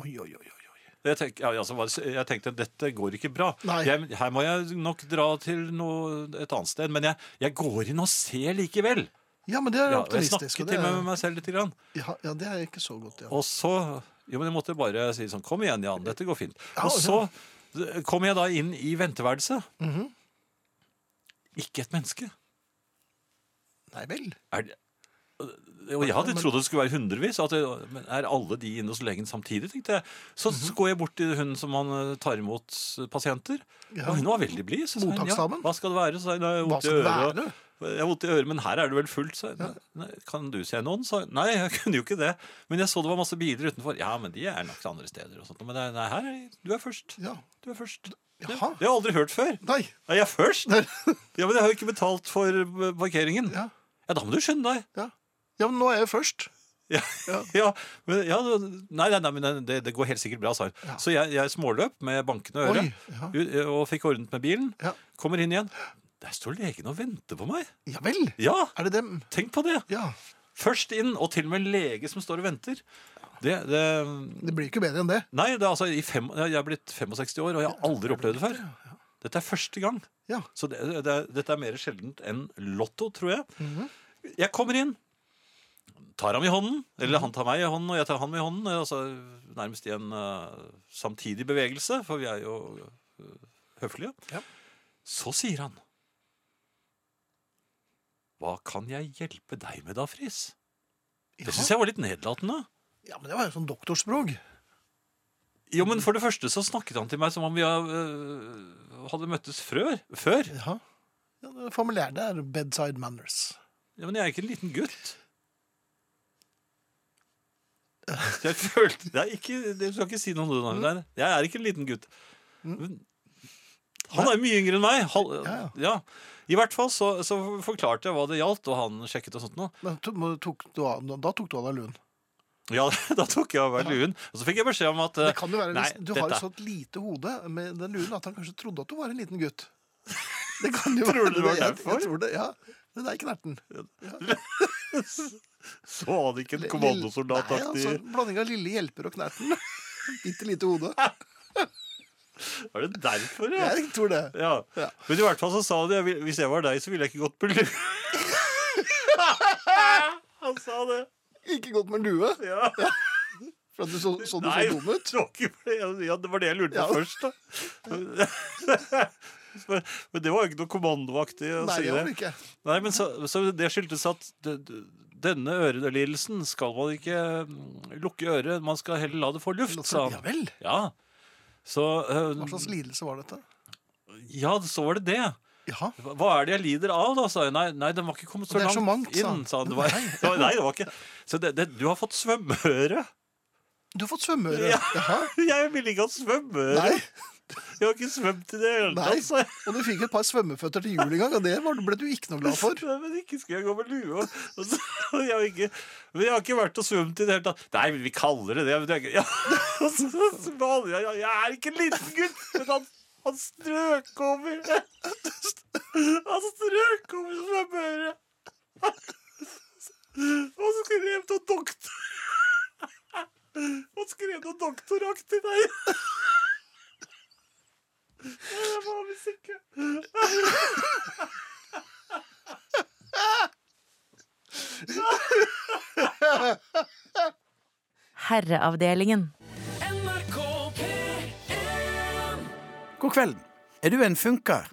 S2: Oi, oi, oi, oi. oi.
S3: Jeg, tenk, ja, altså, hva- jeg tenkte dette går ikke bra.
S2: Nei.
S3: Jeg, her må jeg nok dra til noe, et annet sted. Men jeg, jeg går inn og ser likevel.
S2: Ja, men det er
S3: Ja, og jeg
S2: optimistisk.
S3: snakker
S2: Og det
S3: til meg med
S2: er,
S3: meg selv litt. Grann.
S2: ja, ja, det er ikke så godt, ja.
S3: Og så Jo, men jeg måtte bare si sånn Kom igjen, Jan. Dette går fint.
S2: Ja,
S3: Og
S2: ja. Mhm.
S3: så kom jeg da inn i venteværelset. Ikke et menneske.
S2: Nei vel.
S3: Er det og jeg hadde trodd det skulle være hundrevis. At det, men er alle de inne hos legen samtidig? tenkte jeg. Så,
S2: Mhm.
S3: så går jeg bort til hun som han eh, tar imot eh, pasienter.
S2: Ja.
S3: Og hun var veldig blid. Så sa hun ja,
S2: Mottaksdamen.
S3: hva skal det være? Så sa hun, «Nei, jeg har
S2: Hva
S3: vondt i
S2: skal det
S3: øret.
S2: være?
S3: Jeg har vondt i øret, men her er det vel fullt. Så, jeg, nei, kan du se noen? Så, nei, jeg (laughs) kunne jo ikke det. Men jeg så det var masse biler utenfor. Ja, men de er nok til andre steder. og sånt. Men det er- nei, her er, du er først.
S2: Ja.
S3: Du er først. Det, det
S2: Jaha.
S3: har jeg aldri hørt før.
S2: Nei. (laughs)
S3: Er jeg først? Ja, Men jeg har jo ikke betalt for eh, parkeringen.
S2: Ja.
S3: ja da må du skynde deg.
S2: Ja. ja, men nå er jeg først.
S3: Ja, (laughs) ja.
S2: Ja.
S3: men, ja det- nei, nei, nei, men det, det går helt sikkert bra, sa hun.
S2: Ja.
S3: Så jeg, jeg småløp med bankende øre
S2: Oi, ja.
S3: u- eh, og fikk ordnet med bilen.
S2: Ja.
S3: Kommer inn igjen. Der står legen og venter på meg!
S2: Ja vel.
S3: Ja,
S2: Er det dem?
S3: tenk på det!
S2: Ja.
S3: Først inn, og til og med en lege som står og venter. Det, det,
S2: Det blir ikke bedre enn det.
S3: nei, det er altså i fem, jeg er blitt 65 år, og jeg har aldri opplevd det før. Dette er første gang.
S2: Ja.
S3: Så det, det, er- dette er mer sjeldent enn lotto, tror jeg.
S2: Mhm.
S3: Jeg kommer inn, tar ham i hånden, eller han tar meg i hånden, og jeg tar ham i hånden. Altså nærmest i en eh, samtidig bevegelse, for vi er jo eh, høflige.
S2: Ja.
S3: Så sier han Hva kan jeg hjelpe deg med da, Friis? Det
S2: Ja.
S3: syns jeg var litt nedlatende.
S2: ja, men det var jo sånn doktorspråk.
S3: Jo, men For det første så snakket han til meg som om vi eh, hadde møttes frør, før.
S2: Ja. ja det formulære er bedside manners.
S3: Ja, men jeg er ikke en liten
S2: (laughs)
S3: gutt. Jeg følte det er ikke, Du skal ikke si noe om det. Nei,
S2: Mm.
S3: nei. Jeg er ikke en liten gutt. Men, han er jo mye yngre enn meg. Hal ja,
S2: Ja,
S3: I hvert fall så, så forklarte jeg hva det gjaldt, og han sjekket og sånt noe.
S2: Men to, må- tok du av, da tok du av deg luen.
S3: Ja, (laughs) da tok jeg av meg luen. Og så fikk jeg beskjed om at eh,
S2: Det kan jo være,
S3: nei,
S2: Du har jo
S3: dette-
S2: sånt lite hode med den luen at han kanskje trodde at du var en liten
S3: (laughs)
S2: gutt. Det kan jo
S3: Tror du
S2: være
S3: det var
S2: Jeg-
S3: derfor?
S2: Jeg tror det, ja. Men det er knerten.
S3: Så var det ikke en kommandosoldataktig
S2: Nei, altså, Blanding av lille hjelper og knerten. (laughs) Bitte lite hode.
S3: Var det derfor, ja?
S2: Jeg tror det.
S3: ja?
S2: Ja.
S3: Men i hvert fall så sa han det. Hvis jeg var deg, så ville jeg ikke gått
S2: (laughs)
S3: på lue. han sa det.
S2: Ikke godt med lue,
S3: Ja.
S2: for at du så, så, du
S3: Nei,
S2: så dum ut.
S3: det var ikke for det. Ja, det var det jeg lurte på
S2: Ja.
S3: først, da. (laughs) Men- Men det var jo ikke noe kommandoaktig å
S2: Nei,
S3: si
S2: det var det
S3: det.
S2: ikke.
S3: Nei, men så, så det skyldtes at det, det- denne ørelidelsen skal man ikke mm, lukke øret, man skal heller la det få luft, sa
S2: altså, Ja
S3: han.
S2: vel.
S3: Ja. Så
S2: Hva
S3: eh,
S2: slags lidelse var dette?
S3: Ja, så var det det.
S2: Jaha.
S3: Hva- Hva er det jeg lider av, da? sa jeg. Nei, nei den var ikke kommet
S2: Det
S3: så
S2: er
S3: langt
S2: så mangt, sa
S3: inn,
S2: han.
S3: sa han. Det var, det var, (laughs) nei, det var ikke Så det, det, du har fått svømmeøre.
S2: Du har fått svømmeøre.
S3: Ja.
S2: Jaha.
S3: (laughs) Jeg ville ikke ha svømmeøre.
S2: Nei.
S3: Jeg har ikke svømt i det hele
S2: Nei.
S3: tatt. sa jeg.
S2: Og du fikk et par svømmeføtter til jul en gang, og det var- ble du ikke noe glad for.
S3: Nei, Men ikke skulle jeg gå med lue. og- og så- og Jeg har ikke, men jeg har ikke vært og svømt i det hele tatt. Nei, men vi kaller det det. Men det er ikke, ja. (laughs) og så, så bader jeg, jeg er ikke en liten gutt, men han, han strøk over. (laughs) Han strøk over svømmeøret. (laughs) Og så skrev noe doktor. (laughs) Og skrev noe doktoraktig der. (laughs) Ja, Det var visst ikke
S4: Herreavdelingen.
S6: God kvelden. Er du en funker?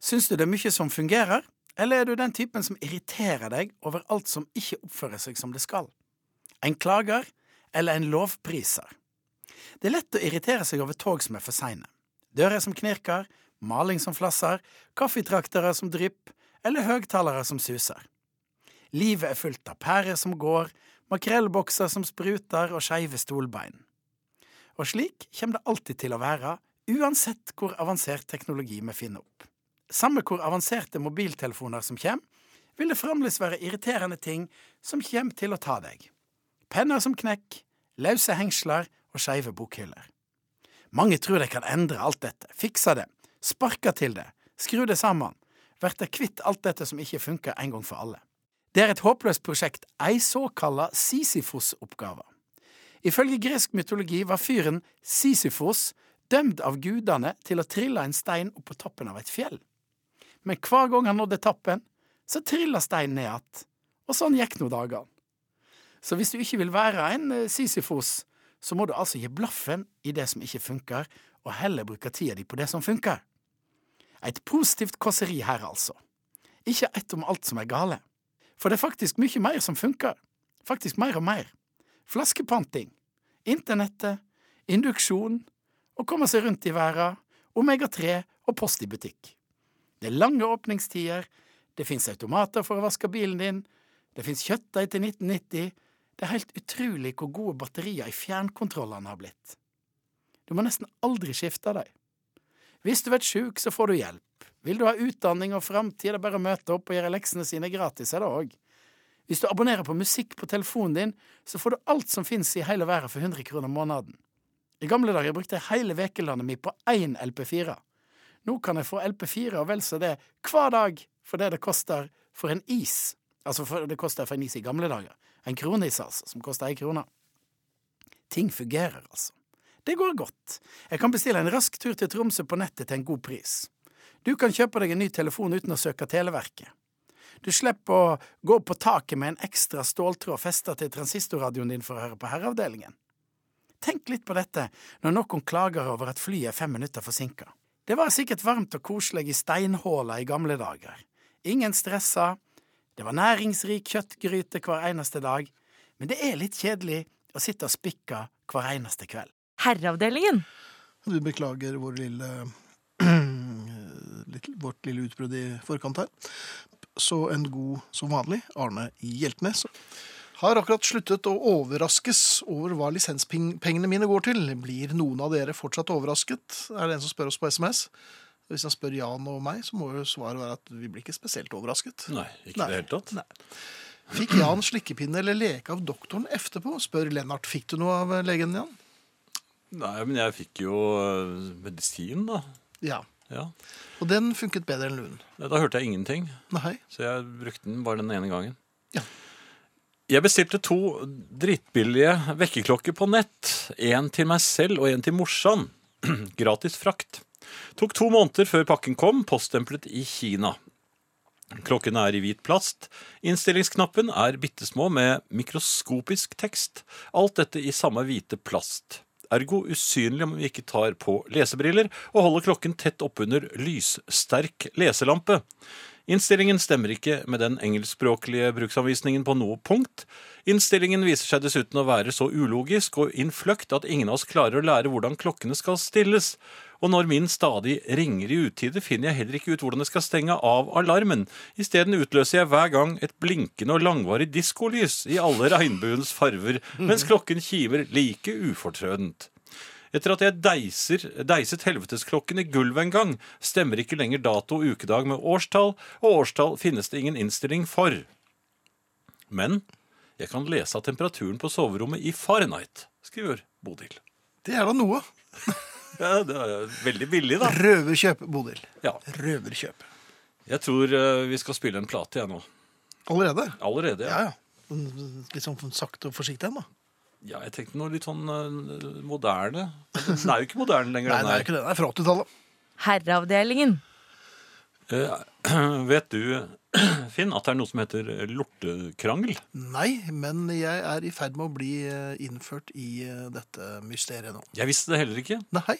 S6: Syns du det er mye som fungerer, eller er du den typen som irriterer deg over alt som ikke oppfører seg som det skal? En klager eller en lovpriser? Det er lett å irritere seg over tog som er for seine. Dører som knirker, maling som flasser, kaffetraktere som drypp, eller høgtalere som suser. Livet er fullt av pærer som går, makrellbokser som spruter og skeive stolbein. Og slik kommer det alltid til å være, uansett hvor avansert teknologi vi finner opp. Samme hvor avanserte mobiltelefoner som kommer, vil det fremdeles være irriterende ting som kommer til å ta deg. Penner som knekk, løse hengsler og skeive bokhyller. Mange tror de kan endre alt dette, fikse det, sparke til det, skru det sammen, bli kvitt alt dette som ikke funker en gang for alle. Det er et håpløst prosjekt, ei såkalla Sisyfos-oppgave. Ifølge gresk mytologi var fyren Sisyfos dømt av gudene til å trille en stein opp på toppen av et fjell. Men hver gang han nådde toppen, så trilla steinen ned igjen, og sånn gikk nå dagene. Så hvis du ikke vil være en eh, Sisyfos, så må du altså gi blaffen i det som ikke funker, og heller bruke tida di på det som funker. Et positivt kåseri her, altså. Ikke ett om alt som er gale. For det er faktisk mye mer som funker. Faktisk mer og mer. Flaskepanting, internettet, induksjon, å komme seg rundt i verden, Omega-3 og post i butikk. Det er lange åpningstider, det fins automater for å vaske bilen din, det fins kjøttdeig til 1990, det er helt utrolig hvor gode batterier i fjernkontrollene har blitt. Du må nesten aldri skifte dem. Hvis du blir sjuk, så får du hjelp. Vil du ha utdanning og framtid, er det bare å møte opp og gjøre leksene sine gratis, er det òg. Hvis du abonnerer på musikk på telefonen din, så får du alt som finnes i hele verden for 100 kroner måneden. I gamle dager brukte jeg hele vekelandet mitt på én LP4. Nå kan jeg få LP4 og vel så det hver dag for det det koster for en is. Altså for det koster for en is i gamle dager. En kroneis, altså, som koster ei krone. Ting fungerer, altså. Det går godt. Jeg kan bestille en rask tur til Tromsø på nettet til en god pris. Du kan kjøpe deg en ny telefon uten å søke Televerket. Du slipper å gå på taket med en ekstra ståltråd festa til transistorradioen din for å høre på Herreavdelingen. Tenk litt på dette når noen klager over at flyet er fem minutter forsinka. Det var sikkert varmt og koselig i steinhåla i gamle dager. Ingen stressa. Det var næringsrik kjøttgryte hver eneste dag. Men det er litt kjedelig å sitte og spikke hver eneste kveld.
S4: Herreavdelingen.
S2: Du beklager vår lille, litt, vårt lille utbrudd i forkant her. Så en god, som vanlig, Arne Hjeltnes. Har akkurat sluttet å overraskes over hva lisenspengene mine går til. Blir noen av dere fortsatt overrasket? Er det en som spør oss på SMS? Hvis han spør Jan og meg, så må jo svaret være at vi blir ikke spesielt overrasket.
S3: Nei, ikke i det hele tatt.
S2: Fikk Jan slikkepinne eller leke av doktoren etterpå? Spør Lennart. Fikk du noe av legen, Jan?
S3: Nei, men jeg fikk jo øh, medisin, da.
S2: Ja.
S3: Ja.
S2: Og den funket bedre enn luen.
S3: Da hørte jeg ingenting,
S2: Nei.
S3: så jeg brukte den bare den ene gangen.
S2: Ja.
S3: Jeg bestilte to drittbillige vekkerklokker på nett. En til meg selv og en til morsan. (clears throat) Gratis frakt. Tok to måneder før pakken kom, poststemplet i Kina. Klokken er i hvit plast. Innstillingsknappen er bitte små med mikroskopisk tekst. Alt dette i samme hvite plast. Ergo usynlig om vi ikke tar på lesebriller og holder klokken tett oppunder lyssterk leselampe. Innstillingen stemmer ikke med den engelskspråklige bruksanvisningen på noe punkt. Innstillingen viser seg dessuten å være så ulogisk og innfløkt at ingen av oss klarer å lære hvordan klokkene skal stilles. Og når min stadig ringer i utide, finner jeg heller ikke ut hvordan jeg skal stenge av alarmen. Isteden utløser jeg hver gang et blinkende og langvarig diskolys i alle regnbuens farver, mens klokken kiver like ufortrødent. Etter at jeg deiser, deiset helvetesklokken i gulvet en gang, stemmer ikke lenger dato og ukedag med årstall, og årstall finnes det ingen innstilling for. Men jeg kan lese av temperaturen på soverommet i Fahrenheit, skriver Bodil.
S2: Det er da noe.
S3: Ja, det er veldig billig, da.
S2: Røverkjøp, Bodil.
S3: (laughs) Ja.
S2: Røverkjøp.
S3: Jeg tror eh, vi skal spille en plate, jeg nå.
S2: Allerede?
S3: Allerede.
S2: Ja,
S3: Ja.
S2: ja. Litt sånn sakte og forsiktig ennå.
S3: ja, jeg tenkte noe litt sånn eh, moderne. Den er jo ikke moderne lenger,
S2: Nei,
S3: den
S2: det er
S3: her.
S2: ikke det. Det er fra 80-tallet.
S4: Herreavdelingen.
S3: Eh, (clears throat) Vet du Finn, at det er noe som heter lortekrangel.
S2: Nei, men jeg er i ferd med å bli eh, innført i eh, dette mysteriet nå.
S3: Jeg visste det heller ikke,
S2: Nei,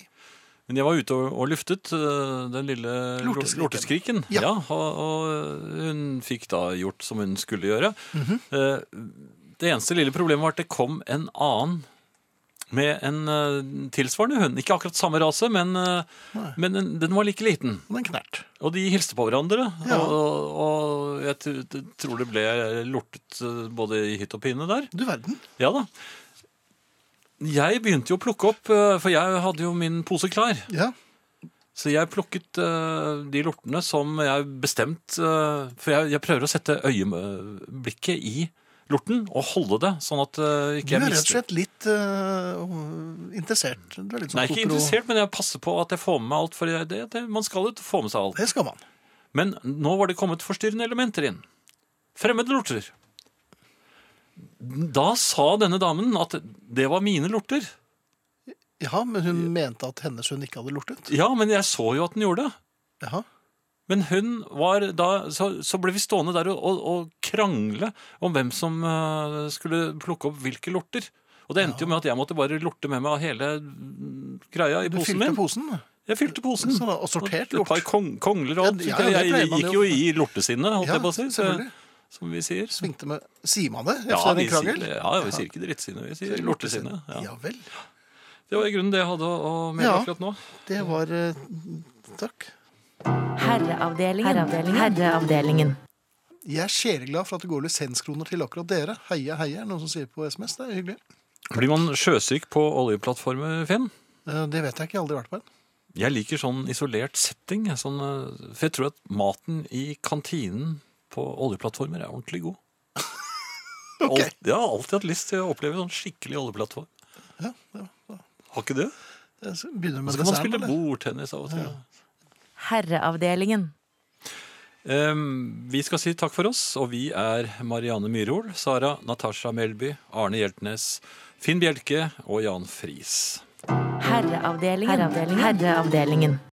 S3: men jeg var ute og, og luftet øh, den lille lor-
S2: Lorteskriken.
S3: lorteskriken.
S2: Ja.
S3: Ja, og, og hun fikk da gjort som hun skulle gjøre.
S2: Mhm.
S3: Eh, Det eneste lille problemet var at det kom en annen med en øh, tilsvarende hund. Ikke akkurat samme rase, men, øh, men den, den var like liten.
S2: den knert.
S3: Og de hilste på hverandre,
S2: Ja.
S3: og, og, og jeg t- t- tror det ble lortet eh, både i hytt og pine der.
S2: Du verden.
S3: Ja da. Jeg begynte jo å plukke opp, eh, for jeg hadde jo min pose klar.
S2: Ja.
S3: Så jeg plukket eh, de lortene som jeg bestemt eh, For jeg, jeg prøver å sette øyeblikket i lorten og holde det, sånn at eh,
S2: Du
S3: ikke
S2: er rett
S3: jeg
S2: og
S3: mister
S2: slett litt eh, interessert. Du er litt sånn
S3: Nei, ikke
S2: kopro-
S3: interessert, men jeg passer på at jeg får med meg alt. For jeg, det, det, man skal jo få med seg alt.
S2: Det skal man.
S3: Men nå var det kommet forstyrrende elementer inn. Fremmede lorter. Da sa denne damen at det var mine lorter.
S2: Ja, men hun mente at hennes hun ikke hadde lortet.
S3: Ja, men jeg så jo at den gjorde det.
S2: Jaha.
S3: Men hun var da Så, så ble vi stående der og, og, og krangle om hvem som eh, skulle plukke opp hvilke lorter. Og det endte jo med at jeg måtte bare lorte med meg hele mm, greia i
S2: Du
S3: posen
S2: fylte
S3: min.
S2: posen.
S3: Jeg fylte posen.
S2: Så da, og sortert
S3: Et par
S2: lort.
S3: kong, kongler og alt.
S2: Ja, ja, det
S3: jeg,
S2: pleier man
S3: gikk
S2: jo.
S3: jo i lortesinnet, holdt
S2: Ja,
S3: jeg på å si.
S2: selvfølgelig.
S3: Som vi sier.
S2: Svingte med Sier man det
S3: Ja,
S2: etter
S3: vi
S2: en
S3: sier,
S2: krangel?
S3: ja, vi sier ikke drittsinne, vi sier lortesinne.
S2: Ja.
S3: Ja.
S2: vel.
S3: Det var i grunnen det jeg hadde å å mene
S2: Ja.
S3: akkurat nå.
S2: Det var eh, Takk.
S4: Herreavdelingen. Herreavdelingen.
S2: Jeg er sjeleglad for at det går lisenskroner til akkurat dere. Heia, heia, er det noen som sier på SMS. Det er hyggelig.
S3: Blir man sjøsyk på oljeplattformer, Finn?
S2: Eh, Det vet jeg ikke. Jeg har aldri vært på en.
S3: Jeg liker sånn isolert setting. jeg, Sånn, eh, for jeg tror at maten i kantinen på oljeplattformer er ordentlig
S2: (laughs)
S3: god. Alt, jeg har alltid hatt lyst til å oppleve sånn skikkelig oljeplattform.
S2: Ja, det var-
S3: Har ikke det?
S2: jeg s- Begynner
S3: Og
S2: med
S3: så kan man
S2: desserten,
S3: spille
S2: eller?
S3: bordtennis av og til.
S4: Herreavdelingen.
S3: Ehm, vi skal si takk for oss, og vi er Marianne Myrhol, Sara Natasha Melby, Arne Hjeltnes, Finn Bjelke og Jan Friis.
S4: Herreavdelingen. Herreavdelingen. Herreavdelingen.